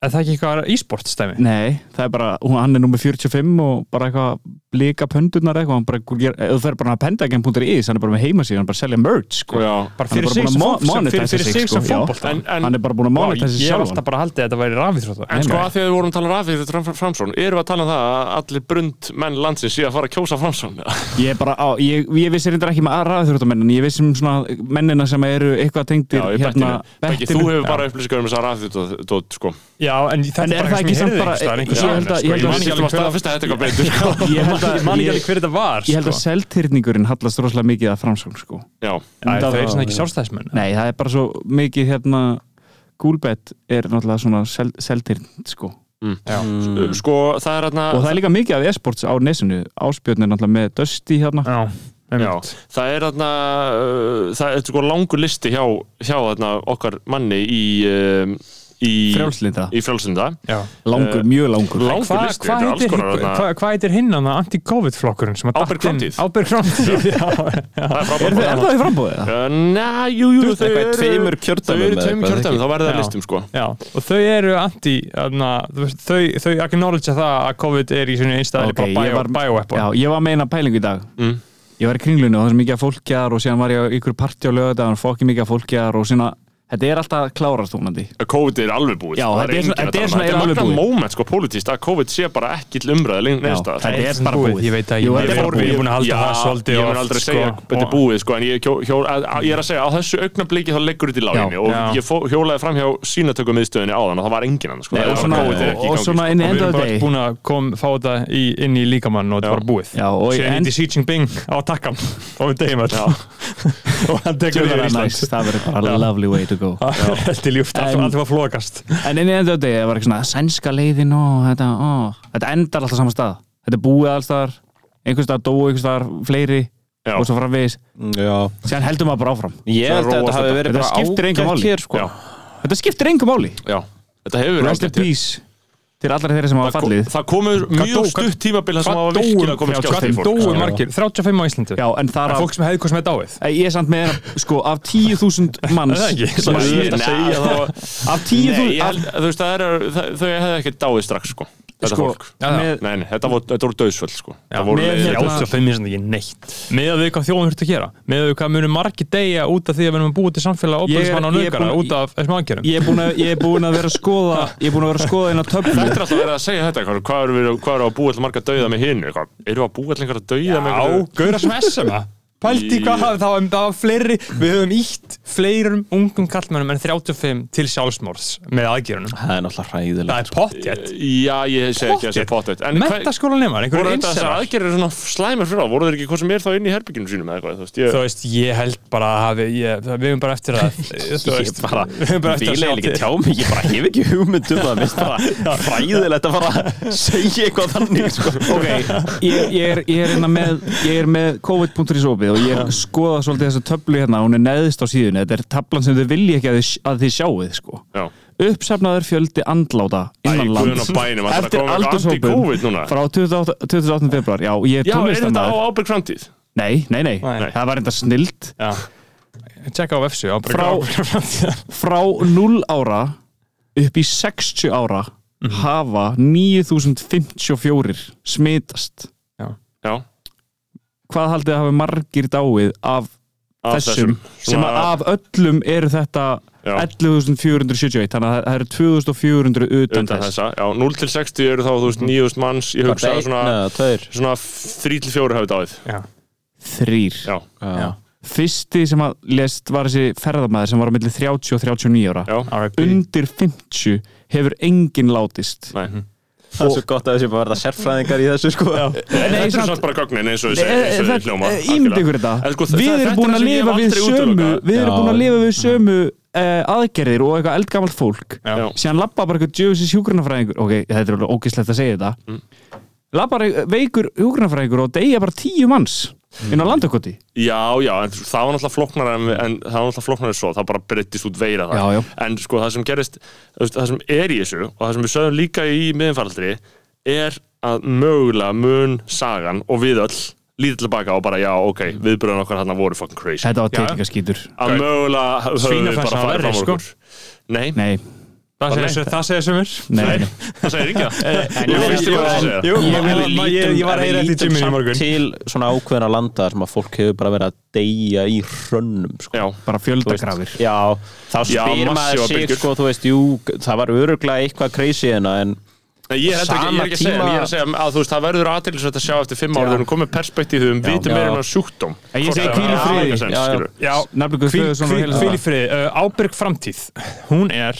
er það ekki eitthvað e-sport stæmi
nei, það er bara hún, hann er nummer 45 og bara eitthvað blika pöndurnar eða eitthvað, hann bara ger- ef þú fer bara að pendagen.is, hann er bara með heimasíðan hann er bara að selja merch, sko
Já,
bara
Hann
fyrir
er bara
sig
búinn að
sem
mo-
fót- sem- fyrir-
monetisa
fyrir
sig,
sig sem
sko, já.
fótbolta
en, en,
hann er bara búin að
Vá,
mána þessi
ég hef alltaf
sjálfan
bara haldið að þetta væri
en
rafíþrótta
sko
Nei.
að því að við vorum að tala rafið þetta framsón, erum við að tala um það að allir brund menn landsins sé að fara að kjósa framsón
ég, er bara á, ég, ég vissi reyndar ekki með aðraðþjóttamennina ég vissi um svona mennina sem eru eitthvað tengdir
Já, í bettinu, Beggi, þú
bettinu.
hefur
hérna, Já.
bara upplýsingar um þess að rafið sko
já en þetta
En
er bara
er
eitthvað
það ekki
sem
samt
ég
bara-
heyrði einhvers
ég
staðar,
held að-
sko.
ég held
Ég man ekki
ég
alveg að
man
staðfesta þetta eitthvað betur sko.
[LAUGHS] ég held að,
ekki alveg hver þetta var
Ég held að
sko.
seltirningurinn hallast rosalega mikið að framsókn sko.
Já,
Æ,
það-
það er svona ekki sjálfstæðismenn
Nei, það er bara svo mikið hérna gúlbett er náttúrulega svona sel, seltirn sko.
sko það er hérna
og það er líka mikið af esports á nesinu áspjörn er náttúrulega með Dusty hérna
já
Já,
einmitt.
það er þarna uh, það er sko langur listi hjá, hjá þarna okkar manni í, um, í
frjálslinda,
í frjálslinda
já
langur,
Eh,
mjög langur
langur
Hvað
listi,
hva
þetta er alls
heitir,
konar
hva,
þarna-
hva heitir hinn hann anti-covid flokkurinn sem að datt
Ábyrg
inn?
framtíð.
Ábyrg framtíð, [LAUGHS] já
það er
er,
frábært
það- er það í frambóðið?
Uh, Næ, jú, jú, þau
eitthvað í
eru
tveimur
Þau
kjördæmum
eru
eða
tveimur
eitthvað,
kjördæmum,
ekki?
þá verður það
Já.
listum sko
Já, og þau eru anti öfna, veist, þau, þau acknowledge það að COVID er í sinni einstæðli
Ok,
okay,
ég
bara
var-
bio- bioweapon
Já, ég var með eina pælingu í dag
Mm.
ég var í kringlunni og það var svo mikið af fólki þar og síðan var ég á ykkur partí á lögðaðan fokki mikið af fólki þar og síðan þetta er alltaf klárast húnandi
COVID er alveg búið
Já,
sko, það
þetta er
enginn
svona-
að
þetta er
tala um
svona
Þetta
eiginlega
er
alveg
magna moment sko, pólitíst að COVID sé bara ekki til umræða
Já,
neðsta
þetta er bara búið.
ég veit að
Jú,
ég,
þetta
ég,
er bara
ég, ég er búin að halda
Já,
það svolítið
ég mun
oft,
aldrei
sko,
segja þetta er
og-
búið sko, en ég, hjó, hjó, að, að, ég er að segja á þessu augnabliki þá leggur þetta í láginni
Já,
og
já.
ég fó, hjólaði fram hjá sínatökumiðstöðinni áðan og það var engin annars sko,
Nei,
það
og
var
svona-
bara COVID er ekki í
og
gangi,
svona
sko.
inn í
og við
enda
erum bara
degi
búin að kom, fá þetta í, inn í líkamann og þetta
Já.
var búið
Já, og í
síðan
end-
hitti Xi Jinping á takkan og við deyjum öll
[LAUGHS]
og hann tekur
Það
við
er
Íslands
næst, það verður bara lovely way to go
Þetta er ljúft, allt
En-
allt var flokast
En inn í enda degi, það var ekki svona sænska leiðin og þetta, ó, þetta endar alltaf saman stað Þetta er búið allstaðar, einhvers staðar dóu, einhvers staðar fleiri
Já.
og svo framvegis,
Já.
síðan heldur maður bara áfram
Ég held að þetta hafi verið
Þetta skiptir
bara
engu máli.
ágætt hér sko.
Já.
Þetta skiptir engum máli,
Já, þetta hefur verið
rest in
ágætt, já.
peace til allar þeirra sem hafa
Það
fallið
kom- það komur mjög
dó- hvað-
stutt tímabil þar sem það var
Hvað
virkilega komið
já,
skjátt
hvað
til fólk sko.
dóu margir, 35 á Íslandi
Já, en það
Það
er
er fólk sem hefði hvað sem hefði dáið
Ég er samt með hérna, sko, af 10.000
[LAUGHS]
manns
Það er ekki,
sem
það
að-
er síðast að
Nei,
segja
það var-
Af
Nei, ég
10.000
held- þú veist, það er- það- þau hefðu ekki dáið strax sko, þetta
Sko,
fólk
Já, já.
Nei, nei, þetta voru, þetta voru döðsvöld sko. Það voru
með
leiðileg dauðsföll.
35 er samt ekki neitt með að við hvað þjóðum þurft að gera með að við hvað munum margir deyja út af því að við erum að búa til samfélag
Ég er-
óbæðismann og
ég er
nöðgara
búinn-
út af þessum aðgerum
Ég er búinn að- ég er búinn að vera að skoða Ég er búinn að vera að skoða eina töflu
Þetta er alltaf verið að segja þetta, hvað- hvað eru við- hvað eru að búa allir marga dauða með hinu? Hvað, Eru að búa allir einhverja dauða með
Já, gauðra sem SM-a Pælti
Í-
hvað hafði, það var, það var fleiri Við höfum ítt fleirum ungum kallmennum en 35 til sjálfsmorðs með aðgerunum
Það er náttúrulega
Það
hræðilegt
er pottjett
Já, ég segi ekki að þessi pottet En hver-
Mentaskólan nema,
voru
einhverjum
þetta þessar
einsæðar
aðgerðir svona slæmar fyrir það? Voru þeir ekki hvað sem er þá inn í herbygginu sínum eða eitthvað? Þú veist, ég
Þú veist, ég held bara að hafi ég, það- Við höfum bara eftir
[LAUGHS]
að Þú
Ég
veist,
[LAUGHS] bara,
við höfum bara
vil
eftir að
eiginlega
sjá
ekki
til
tjá mig, ég bara hef ekki hugmynd um það, mér finnst [LAUGHS] bara fræðilegt að fara að segja eitthvað þannig, [LAUGHS] sko.
Ok, ég, ég, er, ég, er hérna með, ég er með COVID.is opið og ég skoða svolítið þessa töflu hérna, hún er neðist á síðunni, þetta er tablan sem þau vilja ekki að þið, að þið sjáuð, sko.
Já.
Uppsafnaður fjöldi andláta
Æ,
innanlands
guðinn á bænum, ætlar að
eftir
koma með eitthvað anti-Covid
aldurshópum
núna?
frá 28. 28. februar. Já, ég er
Já, er þetta á
tónlistamæður.
ábyrg framtíð?
Nei, nei, nei,
Nei.
það var enda snilt.
Tjekka á F7 á bara
Frá-
gráð-
Frá 0 ára upp í 60 ára
Mhm.
hafa 9054 smitast.
Já,
Hvað haldið að hafi margir dáið af
af
þessum sem að
Svona-
af öllum eru þetta
Já.
11.471 þannig að það eru 2.400 utan
Undan
þess
þessa, já, 0 til 60 eru þá, þú
Mhm.
veist, 9000 manns Ég hugsa að svona,
Nei, tveir.
svona 3 til 4 hafið dáið
Já.
þrýr
Já,
Já.
fyrsti sem að lest var þessi ferðamæður sem var á milli 30 og 39 ára
já,
R.I.P.
undir 50 hefur enginn látist
nei
Það er svo gott að þessi bara verða sérfræðingar í þessu, sko.
Þetta er
samt-
samt bara gögnin eins og
E- e-
þessi
það- e- ímynd ykkur
En sko,
þetta
þa-
við
þetta er
erum
það
búin að
sem ég hef
lifa við
aldrei
sömu
útilokað.
við erum
Já.
búin að lifa við sömu eh, aðgerðir og eitthvað eldgamalt fólk
Já.
síðan labba bara eitthvað djöfisins hjúgrunafræðingur ok, þetta er alveg ógislegt að segja þetta mm. labba bara e, veikur hjúgrunafræðingur og deyja bara tíu manns
Mm.
inn á landakoti
Já, já, en það var náttúrulega flóknara en, en það var náttúrulega flóknara en svo, það bara breyttist út veira það.
Já, já.
En sko það sem gerist, þú veist, það sem er í þessu og það sem við sögum líka í miðinfaraldri er að mögulega mun sagan og við öll líta tilbaka og bara já, ok, viðbröðun okkar hann voru fucking crazy
Þetta var
Já.
teitingaskýtur
að mögulega höfum við
Svínaflensa
bara farið
var verri,
fram úr
sko.
okkur Nei,
Nei,
Það
Bara
segja-
neitt.
það segja sumir
nei, nei.
það segir ekki það
Jú,
Ég finnst
jú,
þú að segja
Jú,
En við
ég- ég ég var að
en við
heyra eftir
lítum
Jimmy í
samt
morgun
til svona ákveðna landa þar sem að fólk hefur bara verið að deyja í hrönnum sko.
Já,
bara
Þú veist,
fjöldagrafir
já, þá
Já,
spyr maður
massívar
sig
bylgjur.
sko, þú veist, jú, það var öruglega eitthvað crazy hérna, en
Nei, ég held ekki, ég er ekki að segja, en ég er að segja að þú veist, það verður aðtilsvægt að sjá eftir fimm ára þegar hún komið perspektífum, við vitum meira en á sjúkdóm.
En ég segi
Hvort
hvíl í
það-
friði.
Já, já,
Já, já.
já.
Já,
Nafnbyggur
hvíl
Stöðursson og
hvíl- hvíl
Hildur
í friði uh, Ábyrg framtíð, hún er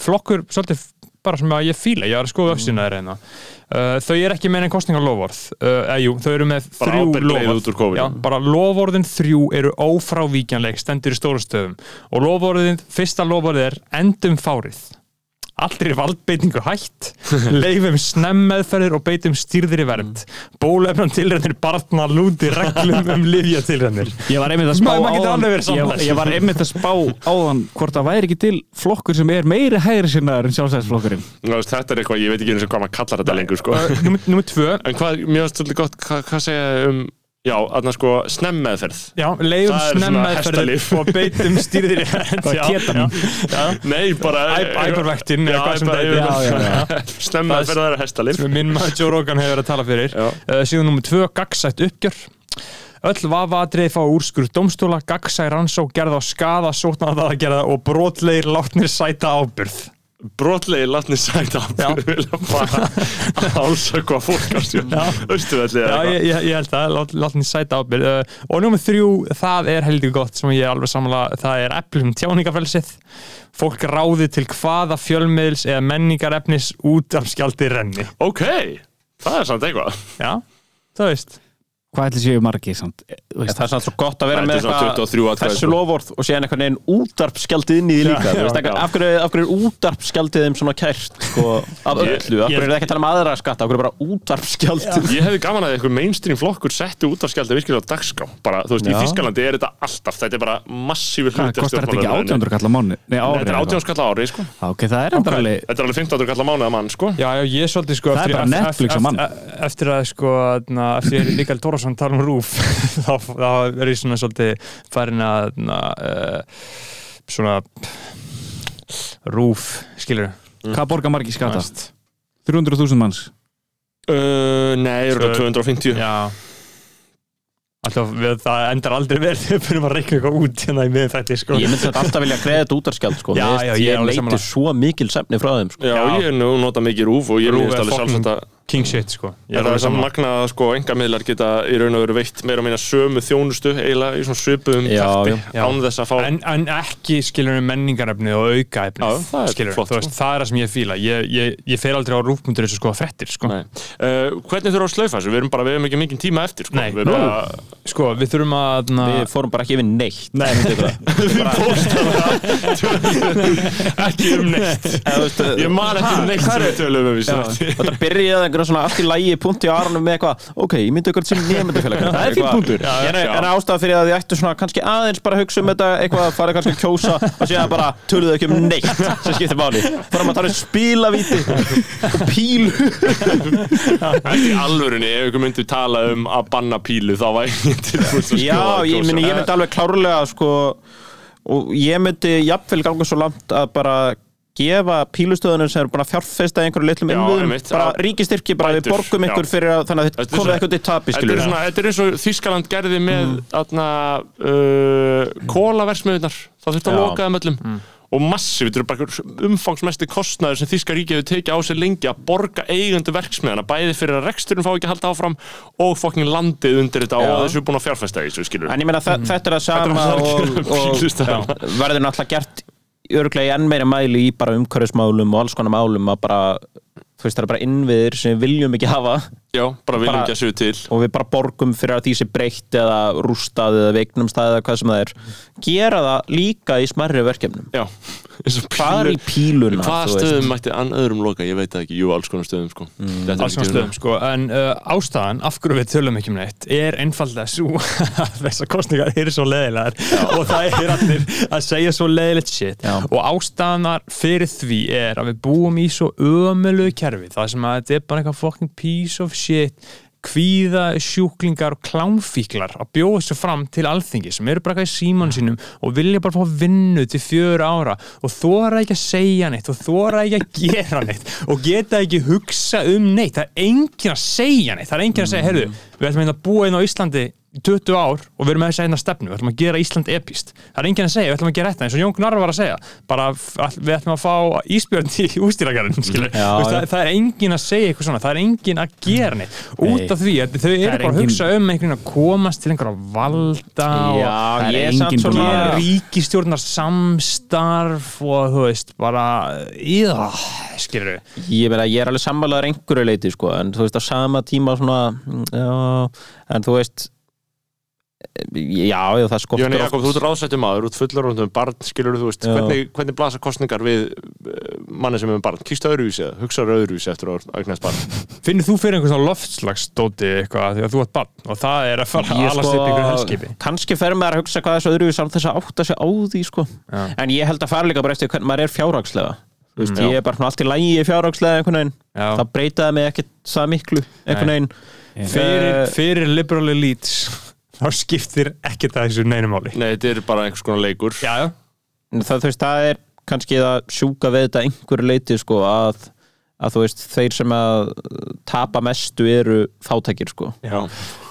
flokkur, svolítið bara sem að ég fíla, ég var að skoða öxina þeirra hérna uh, þau eru ekki með enn kostningalofvörð uh, eða jú, þau eru með
Bara
þrjú
ábyrg leið út úr
lofvörð
COVID.
já, bara lofvörðin þrjú eru ófrávíkjanleg stendur í stóru stöðum og lofvörðin, fyrsta lofvörð er endum fárið Allri valdbeitingu
[LAUGHS]
hætt, leifum snemmeðferðir og beitum stýrðir í vernd.
Mm.
Bólefnum tilrænir barna lúti reglum um livjatilrænir.
[LAUGHS] Ég var einmitt að
Maður- maður getur alveg verið
ég,
sammála
var- ég var einmitt að spá áðan hvort það væri ekki til flokkur sem er meiri hægri sinnaður en sjálfsæðisflokkurinn
Þú veist, Þetta er eitthvað, ég veit ekki eins og hvað maður kallar þetta lengur, sko.
Númer númer tvö,
En hvað, mér finnst svolítið gott, hvað, hvað segja þau um, já, aðna sko, snemmeðferð.
Já, leiðum
Það er
snemma
svona
aðferðir
hestalyf.
og beitum
[LAUGHS]
stýrðir í hend
Það er ketamín.
Nei, bara...
Æpervektin
Já,
eða hvað sem
bara-
það
já, já,
er
já. [LAUGHS] Snemmeðferð það er hestalif.
sem er minn maður Joe Rogan hefur verið að tala fyrir
Já.
uh, síðan nummer tvö, gagsætt uppgjör Öll vafaatriði fá úrskur domstóla, gagsæ rannsók gerða á skada, sótnaða að gerða og brotlegir látnir sæta ábyrð.
Brotlegi latni sætt af fyrir vilja bara álsökva fólk á stjórn. Östuvelli
Já,
eða
ég,
eitthvað.
ég, ég held að lát, látnir sæta ábyrð. Uh, og nummer þrjú, það er heldur gott sem ég er alveg samanlega, það er eflum tjáningafrelsið. Fólk ráði til hvaða fjölmiðls eða menningarefnis út af skjaldi renni.
Ok, það er samt eitthvað.
Já, það veist.
Hvað ætli séu margi samt? E, Þú
En
veist,
það er samt svo gott að vera
Þetta er
með
svona 23 atkvæði,
þessu
sko.
lofvörð og síðan einhvern veginn útarp skjaldið inn í því líka já, veist,
já.
já. Af, hverju, af hverju er útarp skjaldið þeim svona kært sko, af öllu, af hverju er það ekki að tala um aðra skatta af hverju er bara útarp skjaldið
Ég hefði gaman að einhver mainstream flokkur setti út af skjaldið virkilega á dagskrá bara, þú veist, í
Já.
Þískalandi er þetta alltaf þetta er bara massífi
Hvað,
hluti af
kostar þetta ekki
stjórnmálaumræðunni.
800 kallar mánu? Nei, ári
Þetta er 18 skall á ári, Eh. sko
Já, ok, það er endur alveg
Þetta er alveg 15 skall á mánuða mann, sko
Já, já, ég er svolítið sko eftir-
Það er bara
eftir-
Netflix á
eftir-
mann.
e- Eftir að sko, na, eftir að ég heyrði Mikael Dórason tala um rúf [LAUGHS] þá, þá er ég svona svolítið farin að na, uh, svona rúf, skilur
Hvað borgar margi skata? 300.000 manns
uh, Nei, eru
Tvö-
þetta 250
Já Alltaf, við, það endar aldrei verið [LAUGHS] þegar við fyrir að reikna eitthvað út hérna í miðin þetta sko
Ég myndi þetta alltaf vilja greið þetta útarskjald sko.
Já,
Mér finnst-
já, ég er alveg
Ég
sammála.
leiti svo mikil semni frá þeim sko.
Já, ég er nú nota mikið rúf og ég
RÚV
rúf
er
alveg
fucking-
sjálfsagt að
King shit sko Ég
er
er
það
alveg
saman
sammála.
magna að sko engamiðlar geta í raun og veru veitt meira og minna sömu þjónustu eiginlega í svona svipuðum
Já,
takti
já.
án þess að fá
en, en ekki skilur við menningarefnið og aukaefnið
Já, það er
skilurðu.
flott, sko.
Þú veist, það er það sem ég fíla ég, ég, ég fer aldrei á rúfmundur eins og sko frettir sko.
Nei. Uh, hvernig þurfa að slaufa þessu? Við erum bara, við hefum ekki mikið tíma eftir sko.
Nei.
Við erum bara,
sko, við þurfum að na, [LAUGHS]
Við fórum bara ekki yfir neitt Ah. Nei, [LAUGHS]
ekki um neitt Ég man ekki um neitt sem við tölum um í snart
Þetta byrjaði einhverjum svona allt í lægi punkti á Aronum með eitthvað Ok, ég myndi eitthvað sem nefndafélag Það er fín punktur En en ástæða fyrir að þið ættu svona kannski aðeins bara að hugsa um þetta eitthvað, farið kannski að kjósa og síðan bara töluðu ekki um neitt sem skiptir máli Fórum að tala um spílavíti og pílu
Ekki alvörunni, ef ykkur myndi tala um að banna pílu þá var ég tilbúin að
Já, ég, myndi, ég myndi alveg klárlega sko, og ég myndi jafnvel ganga svo langt að bara gefa pílustöðunum sem eru búin að fjárfesta í einhverju litlum
Já,
innviðum,
einmitt,
bara
já.
ríkistyrki bara við
Bætur,
borgum
já.
ykkur fyrir að þannig að
Þetta
þið
er
komið
svona-
eitthvað til tapi
Þetta er,
skilur
svona, þetta er eins og Þískaland gerði með mm. uh, kólaversmiðunar þá þurfti að
Já. Mm.
loka þeim öllum og massíf, þetta eru bara einhver umfangsmesti kostnaður sem Þíska ríki hefur tekið á sig lengi að borga eigundu verksmiðana bæði fyrir að reksturinn fá ekki að halda áfram og fokkin landið undir þetta og þessu er búin að fjárfesta í þessu skilur
En ég meina þa þetta er það sama
það að
og,
gera um
og
bílastæðina.
já, verður náttúrulega gert örglega í enn meira mæli í bara umhverfismálum og alls konar málum að bara þú veist það er bara innviðir sem við viljum ekki hafa
Já, bara viljum
bara-
ekki að séu til
og við bara borgum fyrir að því sé breytt eða rústað eða veiknumstað eða hvað sem það er gera það líka í smarri verkefnum
Já, [LAUGHS] eins og
Hvar í
pílur
píluna
hvaða
þú veist? Mm.
stöðum mætti ann öðrum loka ég veit það ekki, jú, alls konar stöðum sko. Þetta er
alls konar
ekki
stöðum sko, en uh, ástæðan af hverju við tölum ekki um neitt er einfallega svo [LAUGHS] að þessar kostningar eru svo leðilegar og það er allir að segja svo leðilegt shit
Já.
og ástæðanar fyrir því er að við búum í svo ömulegu kerfi það sem að þetta er bara eitthvað fucking piece of shit kvíða sjúklingar og klámfíklar að bjóða þessu fram til alþingi sem eru bara eitthvað í síman sínum og vilja bara fá vinnu til fjögur ára og þóra ekki að segja neitt og þóra ekki að gera neitt og geta ekki hugsa um neitt það er enginn að segja neitt, það er enginn að segja heyrðu, við ætlum hérna að búa inn á Íslandi í 20 ár og við erum með þess að hérna stefnu við ætlum að gera Ísland epist, það er enginn að segja við ætlum að gera þetta eins og Jón Gnarr var að segja bara f- all- við ætlum að fá íspjörn til ústýragarinn, skilur,
Já,
Þú veist,
já.
það, það er enginn að segja eitthvað svona, það er enginn að gera neitt út af því að þau eru
er
bara að
engin-
hugsa um einhvern að komast til einhverja valda
Já,
það er
ég er samt
enginn
svona
búinn
og ríkistjórnar samstarf og þú veist, bara íða, skilur
Ég, meina, ég er alveg sammálaður einhverju leiti sko, en þú veist á sama tíma svona, mm, já, en þú veist eh, já, já það skortur
Jóni
oft-
Jakob, þú ert ráðsættu maður, út fullar rundum barn, skilur þú veist,
Já.
hvernig, hvernig blasa kostningar við eh, manni sem er með barn, kýstu öðruvísi eða hugsaður öðruvísi eftir að eignast barn
[LAUGHS]
Finnir þú fyrir einhvern svona loftslagsdóti eitthvað því að þú ert barn og það er að fara að
Ég
alast upp í einhverju helskipi
sko, kannski fer maður að hugsa hvað þessu öðru samt þess að átta sig á því sko.
Já. Mm,
en ég held að fara líka bara eftir hvernig maður er fjárhagslega Þú veist, ég er bara svona allt í lægi fjárhagslega einhvern veginn,
Já.
það breytaði mig ekkit það miklu einhvern veginn
fyrir,
Eh,
fyrir liberal elites þá skiptir ekkert að þessu neinumáli
Nei, þetta er bara einhvers konar leikur
Já, já,
það, þú veist, það er kannski að sjúka við þetta einhverju leiti sko, að, að þú veist, þeir sem að tapa mestu eru fátækir sko.
Já.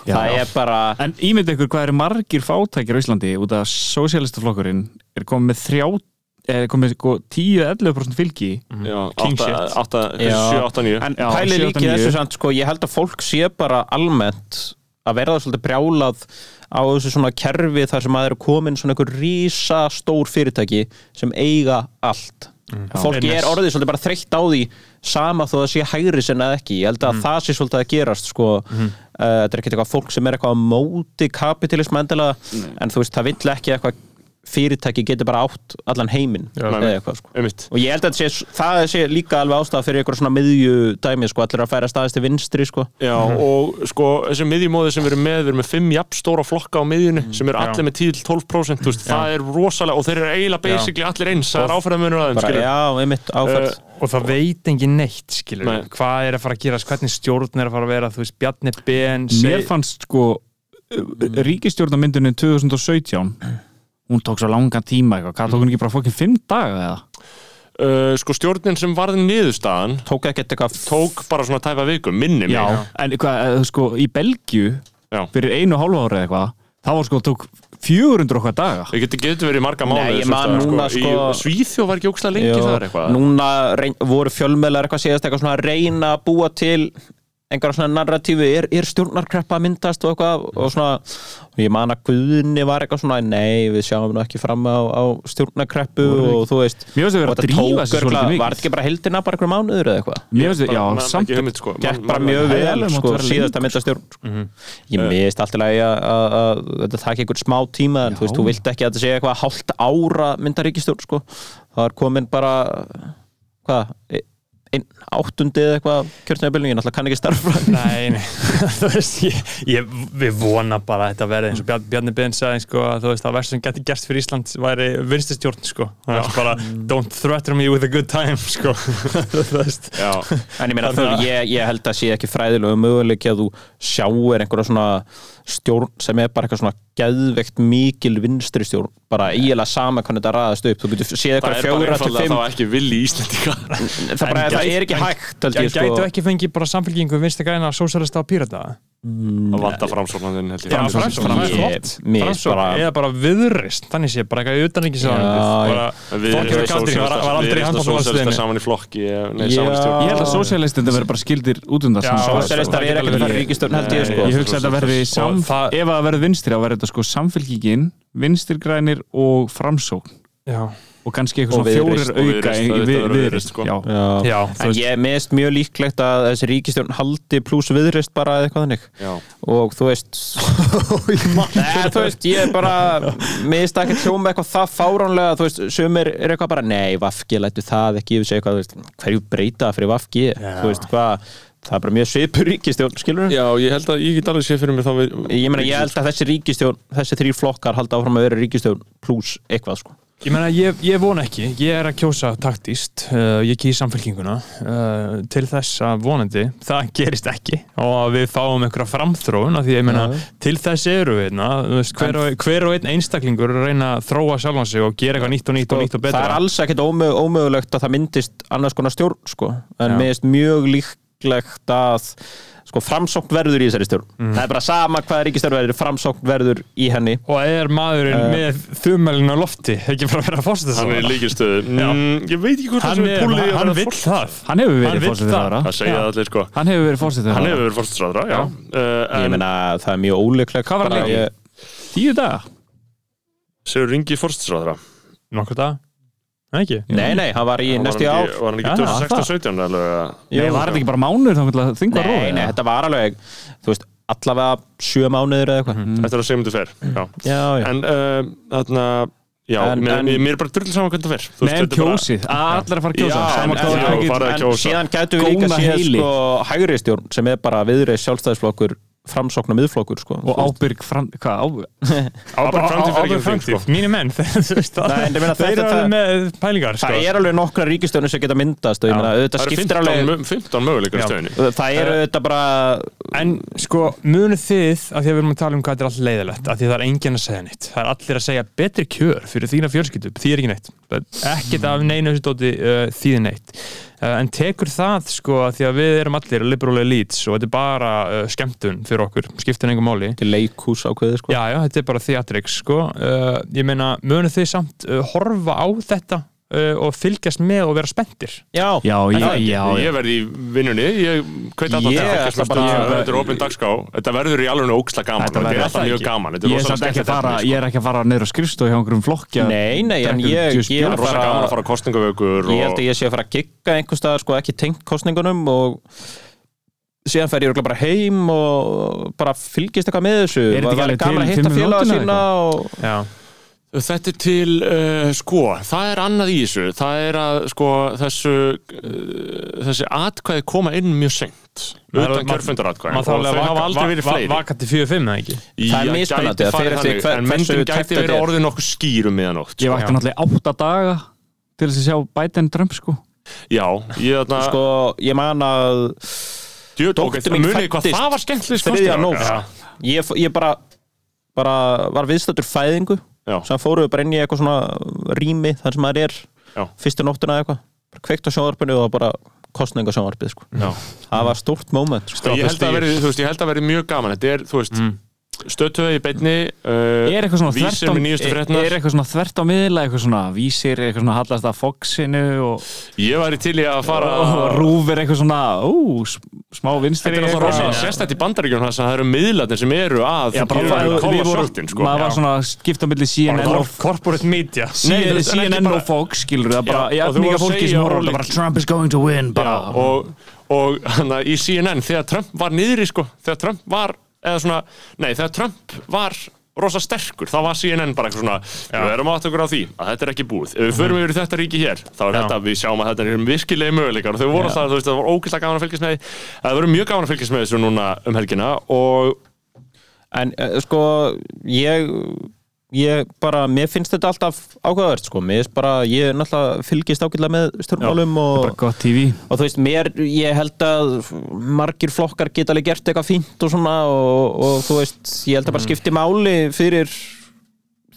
það er bara
En ímynd ykkur hvað eru margir fátækir á Íslandi út af að sósíalistaflokkurinn er komið með þrjá er komið sko 10-11% fylgi
Já,
King
átta-
shit.
átta-
Já.
7, 8, 9
en
Já,
pæli
sjö, átta,
líki
níu.
þessu samt sko, ég held að fólk sé bara almennt að verða svolítið brjálað á þessu svona kerfi þar sem að eru komin svona einhver rísa stór fyrirtæki sem eiga allt
Mm.
fólk
Enes.
er orðið svolítið bara þreytt á því sama þó það sé hægri sinna eða ekki ég held
Mm.
að það sé svolítið að gerast sko. uh, þetta er ekkert eitthvað fólk sem er eitthvað á móti kapitalism endilega en þú veist það vill ekki eitthvað fyrirtæki getur bara átt allan heiminn eða eitthvað sko
Einmitt.
og ég held að sé, það sé líka alveg ástæða fyrir einhver svona miðju dæmi sko, allir að færa staðist til vinstri sko.
Já, og sko, þessi miðjumóði sem við erum með, við erum með fimm jafnstóra flokka á miðjunni
Mhm.
sem eru allir með 10-12%, þú veist, það er rosalega, og þeir eru eiginlega basically allir eins, það er áfæðamunur aðeins,
bara,
skilur.
já, einmitt áfært
Eh,
og það veit engin neitt skilur
Nei.
hvað er að fara að gerast, hvernig stjórn er að fara að vera þú veist, Bjarni Ben
Mér fannst sko
Mm.
ríkistjórnarmyndunni 2017 hún tók svo langan tíma eitthvað hvað tók hún ekki bara fokkin 5 daga eða
eh, Sko, stjórnin sem varði niðurstaðan
tók ekkert eitthvað
tók bara svona tæfa viku, minni mig.
En hvað, eh, sko í Belgju
Já.
fyrir einu og hálfa ári eða eitthvað það var sko tók 400 okkar daga
Það getur getur verið í marga mánu
ég man núna, sko-
Svíþjó var ekki ógstlega lengi þar eitthvað
núna reyn, voru fjölmölar eitthvað síðast eitthvað svona að reyna að búa til einhverja svona narratífi, er, er stjórnarkreppa að myndast og eitthvað og svona, og ég man að Guðni var eitthvað svona, nei, við sjáum nú ekki fram á, á stjórnarkreppu og þú veist,
Mér finnst það vera
og
að drífa sig
örugglega-
svolítið mikið.
var þetta ekki bara heildina bara einhverjum mánuður eða eitthvað
Mér finnst
Bara-
það,
man-
já,
ekki
samt
hugmynd, sko.
gekk
Man-
bara
man-
mjög
man-
vel
mátt
sko,
vera
síðast að mynda stjórn sko.
Mhm.
ég
Eh.
miðist alltaf að, að, að þetta takk einhvern smá tíma en þú veist, þú vilt ekki að þetta segja eitthvað hálft ára mynda ríkistjórn sko. það er komin bara hvað, e- einn áttundi eða eitthvað kjörnæðabillingin, alltaf kann ekki starfa
[LAUGHS]
Nei, [LAUGHS] nei, þú veist, ég, ég, við vona bara að þetta verði eins og Bjarn- Bjarni Ben sagði, sko, að þú veist, að verð sem geti gerst fyrir Ísland væri vinstistjórn, sko, það er bara, don't threaten me with a good time, [LAUGHS] sko, þú veist,
Já,
en ég meina þau, ég, ég held að sé ekki fræðilegu möguleiki að þú sjáir einhverja svona stjórn sem er bara eitthvað svona geðveikt mikil vinstri stjórn bara eiginlega sama hvernig þetta raðast upp þú getur
það
séð eitthvað
er bara
fjóra til
einfallega
fimm
þá ekki vilji Íslandika
það, bara,
En
það
gæti-
er ekki
en-
hægt held
ég
ég
gætu
sko
ekki fengið bara samfélkingu vinstri græna, sósælista og pírata,
að vanda framsóknandinn held ég
Já,
Framsókn.
framsókn,
Ég-
flott
mér
Framsókn,
bara-
eða bara viðrist Þannig sé, bara eitthvað
Já,
utanríkisráðan
Við erum
Þorgerður Katrín var, var aldrei í
sósjálista
handbóltalandsliðinu
saman í flokki eh, Nei,
Já.
saman í
ég
stjórn
held að sósíalistindi verður bara skildir út undan
Já,
Sósíalistar er ekkert að fara í ríkistjórn held ég sko
Ég hugsa að þetta verði sam,
Og það-
ef að það verði vinstri þá verður þetta sko samfélkingin, vinstirgrænir og framsókn
Já,
og kannski
Og
eitthvað svona
Viðreisn,
fjórir
og
auka
Viðreisn,
í
það er þetta að vera Viðreisn,
viðrist
sko.
já,
Já.
Já, þú
En
veist,
ég meðist mjög líklegt að þessi ríkistjórn haldi pluss viðrist bara eða eitthvað þannig
Já.
og þú [LAUGHS] veist Nei, þú veist, ég er bara meðist ekki hljóma eitthvað það fáránlega þú veist, sumir er eitthvað bara nei, Vafki lætu það ekki yfir sig eitthvað þú veist, hverju breyta fyrir Vafki þú veist hvað, það er bara mjög svipur ríkistjórn skilur
Já, ég held að ég get alveg sé fyrir mig þá við,
Ég meina, ég held að þessi ríkistjórn, þessi þrý flokkar halda áfram að vera ríkistjórn pluss eitthvað sko.
ég meina, ég, ég vona ekki ég er að kjósa taktíst uh, ég kýr samfélkinguna uh, til þess að vonandi, það gerist ekki og að við fáum einhverja framþróun af því ég meina, til þess eru við na, veist, hver, og, hver og einn einstaklingur er að reyna að þróa sjálfan sig og gera eitthvað nýtt og nýtt og nýtt og betra
Sko, það er alls ekkit ómög, ómögulegt að það myndist annars konar stjórn sko. en
Já.
mér finnst mjög líklegt að sko, framsókn verður í þessari stjórn það er bara sama hvað ríkistjórn verður framsókn verður í henni
og er maðurinn með þumalinn á lofti ekki frá að vera fórstu
hann er í líkistöðu
Já.
mm, Ég veit ekki hvort það
hann,
sem er
er,
púlið í að
hann
vera
vill
fórs-
það
hann hefur
Hann
verið
vill
fórsett
það.
Það segja það allir sko
hann hefur verið fórsett
Hann hefur verið fórstæðsraðra, já, Uh,
ég
En
meina það er mjög óleiklegt
Hvað var hann
bara-
lengi?
ég-
tíu daga
Sigur Ringi fórstæðsraðra
nokkur dag, Nei, ekki
nei nei, hann var í næstu ár
Var hann
Já,
ekki 2016-17 alveg að-
Nei, var þetta ekki bara mánuður þannig að þingva róið?
nei nei, þetta var alveg þú veist, allavega sjö mánuður eða eitthvað
Eftir að segjum þetta fer já.
já, já.
Mhm. En uh, þarna Já,
En-
mér,
en-
mér- mér er bara drull saman hvernig það fer Þú
Nei,
veist, þetta
en
er bara-
kjósið, allir að fara að kjósa
Já,
Sama
en- en-
hvað það
já,
er.
farið að
en
kjósa.
síðan gætu við líka
Góna
séð
heili.
sko, hægri stjórn sem er bara viðreið sjálfstæðisflokkur framsókn og miðflokkur sko.
og ábyrg fram, hvað, á,
Ábyrg framtíð fer ekki um
Ábyrg
þing, sko.
framtíð, mínu menn [LAUGHS] þeir
Nei, en ég meina,
eru
þetta-
alveg með pælingar sko.
það er alveg nokkra ríkistjórnir sem geta myndast og ég meina, auðvitað
Það eru
skiptir
15
alveg
mö- 15 möguleikar
Já.
í stöðinni
það eru auðvitað bara
en sko, munu þið af því að við erum að tala um hvað þetta er allt leiðilegt af því að það er enginn að segja neitt, það er allir að segja betri kjör fyrir þína fjölskyldu, því er ekki neitt Það er ekkert af neinu þessu dóti uh, þýði neitt, uh, en tekur það sko, af því að við erum allir liberal elites og þetta er bara uh, skemmtun fyrir okkur, skiptir engum máli
til leikhús ákveði sko.
Já, já, þetta er bara theatrix sko. uh, ég meina, munu þið samt uh, horfa á þetta uh, og fylgjast með og vera spenntir
já,
já, já,
það-
já, já.
Ég verði í vinnunni Ég kveit alltaf
Ég
til að
ætla
fylgjast með
bara-
stöðinni Þetta er opinn dagská Þetta verður í alveg óksla gaman
Þetta
Þetta er
verður
alltaf
það
mjög
ekki.
gaman Þetta
Ég
er
er samt
rosalega
ekki að fara,
skemmtilegt sko.
ég er ekki að fara niður á skrifstofu hjá einhverjum flokki að
Nei, nei, en
drekka
ég-
djús
ég
bjór.
er bara-
Rosa gaman að fara á kostningavökur
ég held að ég sé að fara að gigga einhvers staðar sko, ekki tengt kostningunum og síðan fer ég örugglega bara heim og bara fylgist eitthvað með þessu
Er þetta
og
ekki
það
alveg
er gaman að
til
hitta
fimm
félaga
nóttina
sína og...
Já,
Þetta er til, uh, sko, það er annað í þessu, það er að, sko, þessu, uh, þessi atkvæði koma inn mjög seint,
Maður-
utan
maður-
kjörfundaratkvæði,
maður
og þau
þarf alveg að
hafa
vaka,
aldrei verið
va-
fleiri.
va- vaka til 4-5 eða ekki
Það er
Já,
mismunandi,
gæti
það fer
farið
eftir
þannig,
hver-
en
hversu
myndin
tæpt
gæti
þetta
verið
er.
orðin nokkuð um skýrum miðanótt.
ég vakti náttúrulega átta daga til þess að sjá Biden Trump sko
Já, ég þarna,
sko, ég man að
djú, ok,
dóttir mín
munið hvað
fæddist
það var skemmtilegst
þriðja nótt
Já,
ég, ég bara, bara var viðstættur fæðingu
Já.
sem fóruðu bara inn í eitthvað svona rými þar sem maður er
Já.
fyrstu nóttuna eða eitthvað bara kveikt á sjónvarpinu og bara kostninga sjónvarpið sko.
já.
það var stórt moment sko.
Ég held að verið, þú veist, ég held að verið mjög gaman, þetta er, þú veist, stöttuði í beinni, uh,
Mm. er eitthvað svona þvert
vísir
á,
með nýjustu
er,
frétnar.
er eitthvað svona þvert á miðla eitthvað svona vísir, eitthvað svona hallast að Foxinu og,
Ég væri til í að fara
og rúfir eitthvað svona ú, s- smá vinstri
Þetta er
eitthvað.
náttúrulega rosa sérstætt í bandaríkjum þess að það eru miðlarnir sem eru að
Já, bara
gera
það- við
kolla
vorum-
sjáttin sko.
maður var svona skipt á milli CNN og
Corporate media
Nei,
en ekki
CNN
bara-
og Fox, skilur það bara,
Já,
já,
og þú
mikið
voru að
fólki
segja
sem horfður
ólíkt.
bara Trump is going to win, bara
og, og hana, í CNN þegar Trump var niðri sko, þegar Trump var eða svona, nei þegar Trump var rosa sterkur, þá var CNN bara eitthvað svona, við erum átt okkur á því að þetta er ekki búið, ef
Mhm.
við förum yfir í þetta ríki hér þá er þetta, við sjáum að þetta er virkilega möguleikar og þau voru alltaf, þú veist, það var ógæslega gaman að fylgjast með því. það verður mjög gaman að fylgjast með þessu núna um helgina og
en eh, sko ég ég bara, mér finnst þetta alltaf ákveðavert sko, mér finnst bara, ég náttúrulega fylgist ágætlega með stjórnmálum og
bara gott TV
og þú veist, mér, ég held að margir flokkar geta alveg gert eitthvað fínt og svona og, og þú veist, ég held að bara skipti máli fyrir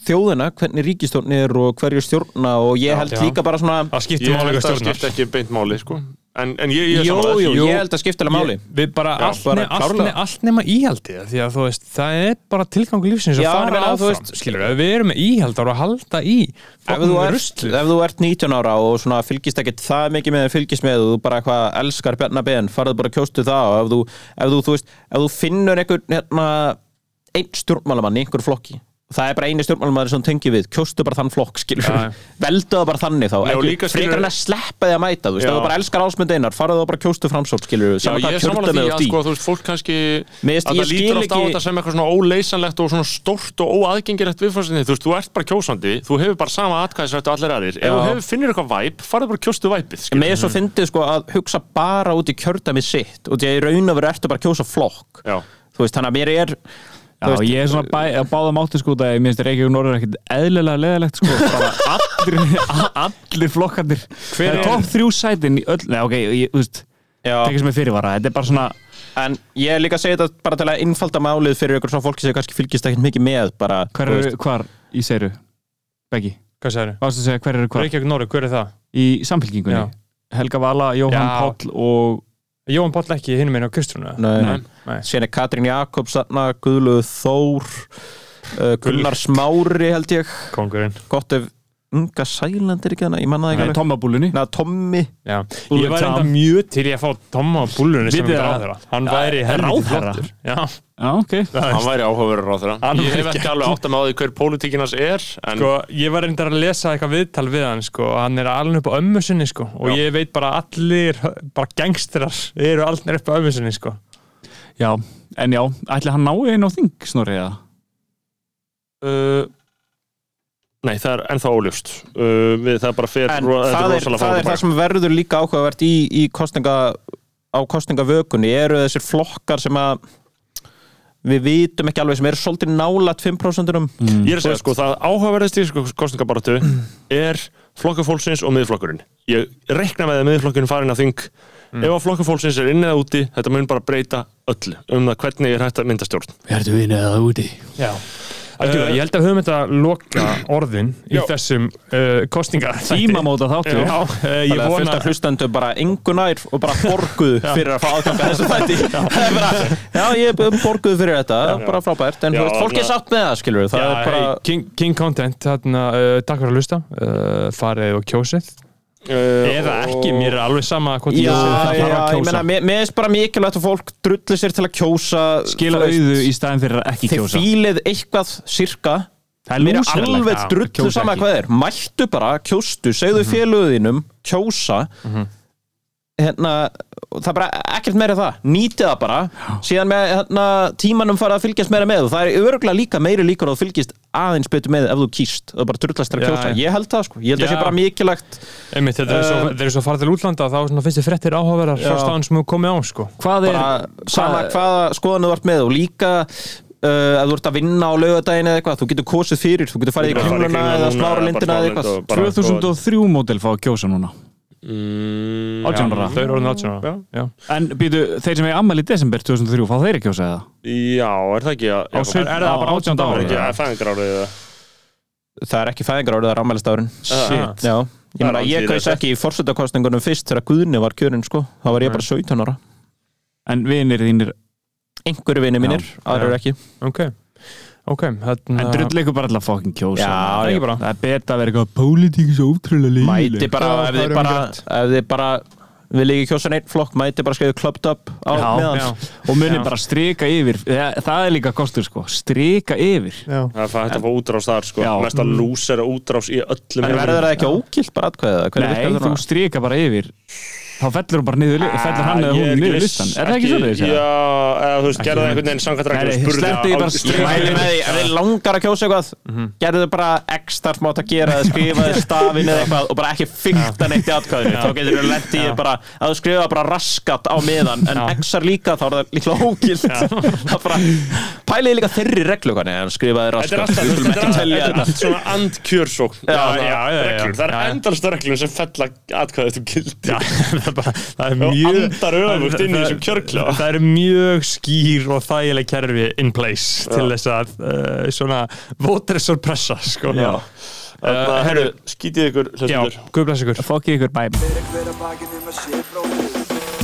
þjóðina, hvernig ríkistjórn er og hverju stjórna og ég held
já.
líka bara svona
Það skiptir
ég
málega
held að
stjórnar
skipta ekki beint máli sko. en, en ég, ég er
Jú,
sammála þessu.
jú, ég held að skipti alveg máli
Ég- Við bara,
Já,
allt,
bara
ne allt,
klárlega.
ne allt nema íhaldið því að þú veist, það er bara tilgang lífsins að
Já,
fara
en ég meina, þú
áfram,
veist-
skilur við, við erum með íhald og að halda í
ef þú,
fucking
ert,
ruslið.
ef þú ert 19 ára og svona fylgist ekkert það mikið með en fylgist með og þú bara eitthvað elskar Bjarna Ben farðu bara að kjóstu það og ef þú, ef þú, þú veist, ef þú finnur einhver hérna, einn stjórnmálamann í einhver flokki það er bara eini stjórnmálumæður sem tengi við kjóstu bara þann flokk, skilur
Já, já.
veldu það bara þannig þá,
Já, og
ekki-
líka, skilur-
frekar en að sleppa því að mæta þú veist,
Já.
ef þú bara elskar ásmund einar, farað þá bara kjóstu framsók skilur,
Já, ég er sammála því að sko, þú veist, fólk kannski
Mér finnst-
að
ég
það lítur
skil
alltaf á
ekki-
þetta sem eitthvað svona óleysanlegt og svona stórt og óaðgengilegt viðfórsinni þú veist, þú ert bara kjósandi, þú hefur bara sama atkvæðisrættu allir aðrir, ef þú hefur finnir eitthvað væp farðu bara og kjóstu væpið, skil
með svo fyndið sko að hugsa bara út í kjördæmi sitt og því að í raun og veru ertu bara að kjósa flokk
Já,
þú veist, þannig að mér er
Já,
þú veist-
ég er svona bæ, að báða mátti sko það ég minnst Reykjavík og Norður ekkert eðlilega leðalegt sko bara allir, [LAUGHS] a- allir flokkandir
Hver
það
er-
er topp þrjú sætin í öll Nei, ok, ég, þú veist,
Já.
tekið sem er fyrirvara þetta er bara svona
en ég er líka að segja þetta bara til að innfalda málið fyrir ykkur svona fólki sem kannski fylgist ekkert mikið með bara,
hver
þú
eru hvar í seiru Beggi,
Hvað sagður?
ástu að segja hver eru hvar
Reykjavík Norður, hver er það?
í samfélkingunni
Já.
Helga Vala, Jóhann
Já.
Páll og
Jóhann Páll ekki hinum einu á kustruna
Nei,
Nei.
Nei.
Sérna eh, Katrín Jakobs þarna, Guðluð Þór uh, Gunnar Smári held ég
Kongurinn
gott ef Unga Sæland er ekki hana, ég manna
Nei,
það ekki alveg
Tommabúlunni
Na, Tommi
Já.
Úlfur
Ég var
Tam.
enda mjög til ég að fá Tomma á búlunni sem
Vitið það?
ráðherra Hann væri helviti
ráðherra?
flottur Já,
Já, ok
hann væri áhugaverður á þeirra
Hann
Ég hef
væri
ekki alveg átt að maður hver pólitíkinas er en
sko, ég var reyndar að lesa eitthvað viðtal við hann sko, og hann er alveg upp á ömmu sinni sko, og ég veit bara að allir bara gangstrar eru allir upp á ömmu sinni sko.
Já, en já, ætli hann náu einu á þing snorri eða?
uh, Nei, það er ennþá óljúst uh, við, Það er bara fer
en
ro- þetta
það er,
rosalega
það er
fáið
það sem verður líka áhugavert í, í kostninga á kostningavökunni eru þessir flokkar sem að við vitum ekki alveg sem eru svolítið nálat 5% mm.
Ég er að segja sko, það áhugaverðist í sko, kostningabaratu er flokkur fólksins og miðflokkurinn Ég rekna með að miðflokkurinn farin að þing
Mm.
Ef að flokkur fólksins er inn eða úti þetta mun bara breyta öllu um það hvernig er hægt að mynda stjórn
Verðu inn eða úti
Já. ég held að höfum þetta loka orðin í
Já.
þessum uh, [LAUGHS] kostinga
Tímamóta þáttur
Já, eh, ég
Ég
vona
fullt af hlustandi bara engunær og bara
[LAUGHS]
borguðu fyrir að fá aðganga þessu þætti Það er bara, Já, ég borguðu fyrir þetta, bara frábært En
Já,
já, veist, fólk er
þarna-
sátt með það, skilur við
Já,
Það er bara,
hey, King, King Content, þarna, uh, takk fyrir að hlusta uh, farið og kjósið eða ekki, mér er alveg sama hvort ég
já,
kjósið, það
já,
þarf að
ég
kjósa.
meina, mér mér finnst bara mikilvægt að fólk drulli sér til að kjósa
Skila
þú veist,
auðu í staðin fyrir að ekki
Þið
kjósa
fílið eitthvað sirka
Það
Mér er
lúserlegt.
alveg
Já,
drullu
kjósa
sama
ekki.
hvað er Mættu bara, kjóstu, segðu félöðinum Kjósa Hérna, það er bara ekkert meira en það Nýtið það bara Síðan með hérna, tímanum farið að fylgjast meira með og Það er örgulega líka meiri líkur að þú fylgjist aðeins betur með ef þú kýst og bara drullast þér að
Já,
kjósa
já.
Ég held það sko, ég held það sé
Já.
bara mikilvægt
Einmitt, þetta er svo, þeir eru svo farið til útlanda þá svona, finnst þið frettir áhugaverðar frá staðan sem þú komið á sko.
Hvað er
bara sama hvaða skoðan þú ert með og líka uh, að þú ert að vinna á laugardaginn eða eitthvað, þú getur kosið fyrir þú getur farið í kringluna eða smára lindina eða eitthvað
2003 mótil fá að kjósa núna Átján ára.
þau eru orðin átján ára. Já.
En býtu, þeir sem er ammæli í desember 2003 fá þeir að kjósa eða?
Já, er það ekki að
Á svið-
Jakob,
á 18
er
ári?
ekki að fæðingarárið eða?
það er ekki fæðingar árið, það er ammælistárun
Shit.
Já, ég,
Það er
meina,
alveg
ég kaus
rétt.
ekki í fórsetakostningunum fyrst þegar Guðni var kjörinn sko, þá var ég bara 17 ára
En vinir þínir
einhverju vinni mínir, aðrar ekki
ok, ok hérna- þarna,
En drull ykkur bara alltaf fokkin kjósa
Já, já.
Það er beta að vera eitthvað pólitík svo ótrúlega leiðileg
mæti bara,
Já,
ef
það
þið
er
bara
umgrænt.
ef þið bara, vil ekki kjósa neitt flokk mæti bara skeiðu klöpt upp á
Já,
meðan
já. Og munið bara strika yfir það, það er líka kostur sko, strika yfir
Það er fæ- hægt að fá útrás þar sko
Já. Mm.
Mesta lús er að útrás í öllum
en verður það ekki ógilt bara atkvæðið
Nei, þú strika bara yfir Þá fellur hún bara niður, li- fellur hann eða
Ég
hún
ekki
niður
viss-
listan Ah, Er það ekki svo leiðis?
Já, eða þú veist, gerði það
viss.
einhvern veginn samkvæmt
Nei,
reglum
nei, sleppti ég bara
Ég
strax.
mæli með því, ef þið Mhm. langar að kjósa eitthvað gerðu þið bara ekstra smátt að gera eða skrifa þið stafin eða eitthvað og bara ekki fylgta neitt í atkvæðinu þá getur þið lett í bara að þú skrifa bara raskat á meðan en exar líka þá er það líklega ógilt það bara pæliði líka þeirri reglu hvernig en skrifaði
Þetta er
raskat
alltaf,
við skulum
þetta
ekki
er
telja
alltaf
þetta
svona andkjörsókn
Já, já,
já, já,
reglur, það
já,
er
já.
endalsta reglur sem fella atkvæðið þú gildi
[LAUGHS] það er bara- það er
og
mjög
andar öfugt inn í
það-
þessum kjörkla
það er mjög skýr og þægileg kerfi in place til þess að uh, svona voter sorpressa sko.
Já. Þannig að, Uh, herru, skítið ykkur
já,
hlustendur.
guð bless ykkur
Fokki ykkur bæm
Fyrir hver að bakið nema sé bróðir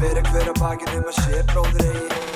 Fyrir hver að bakið nema sé bróðir eigi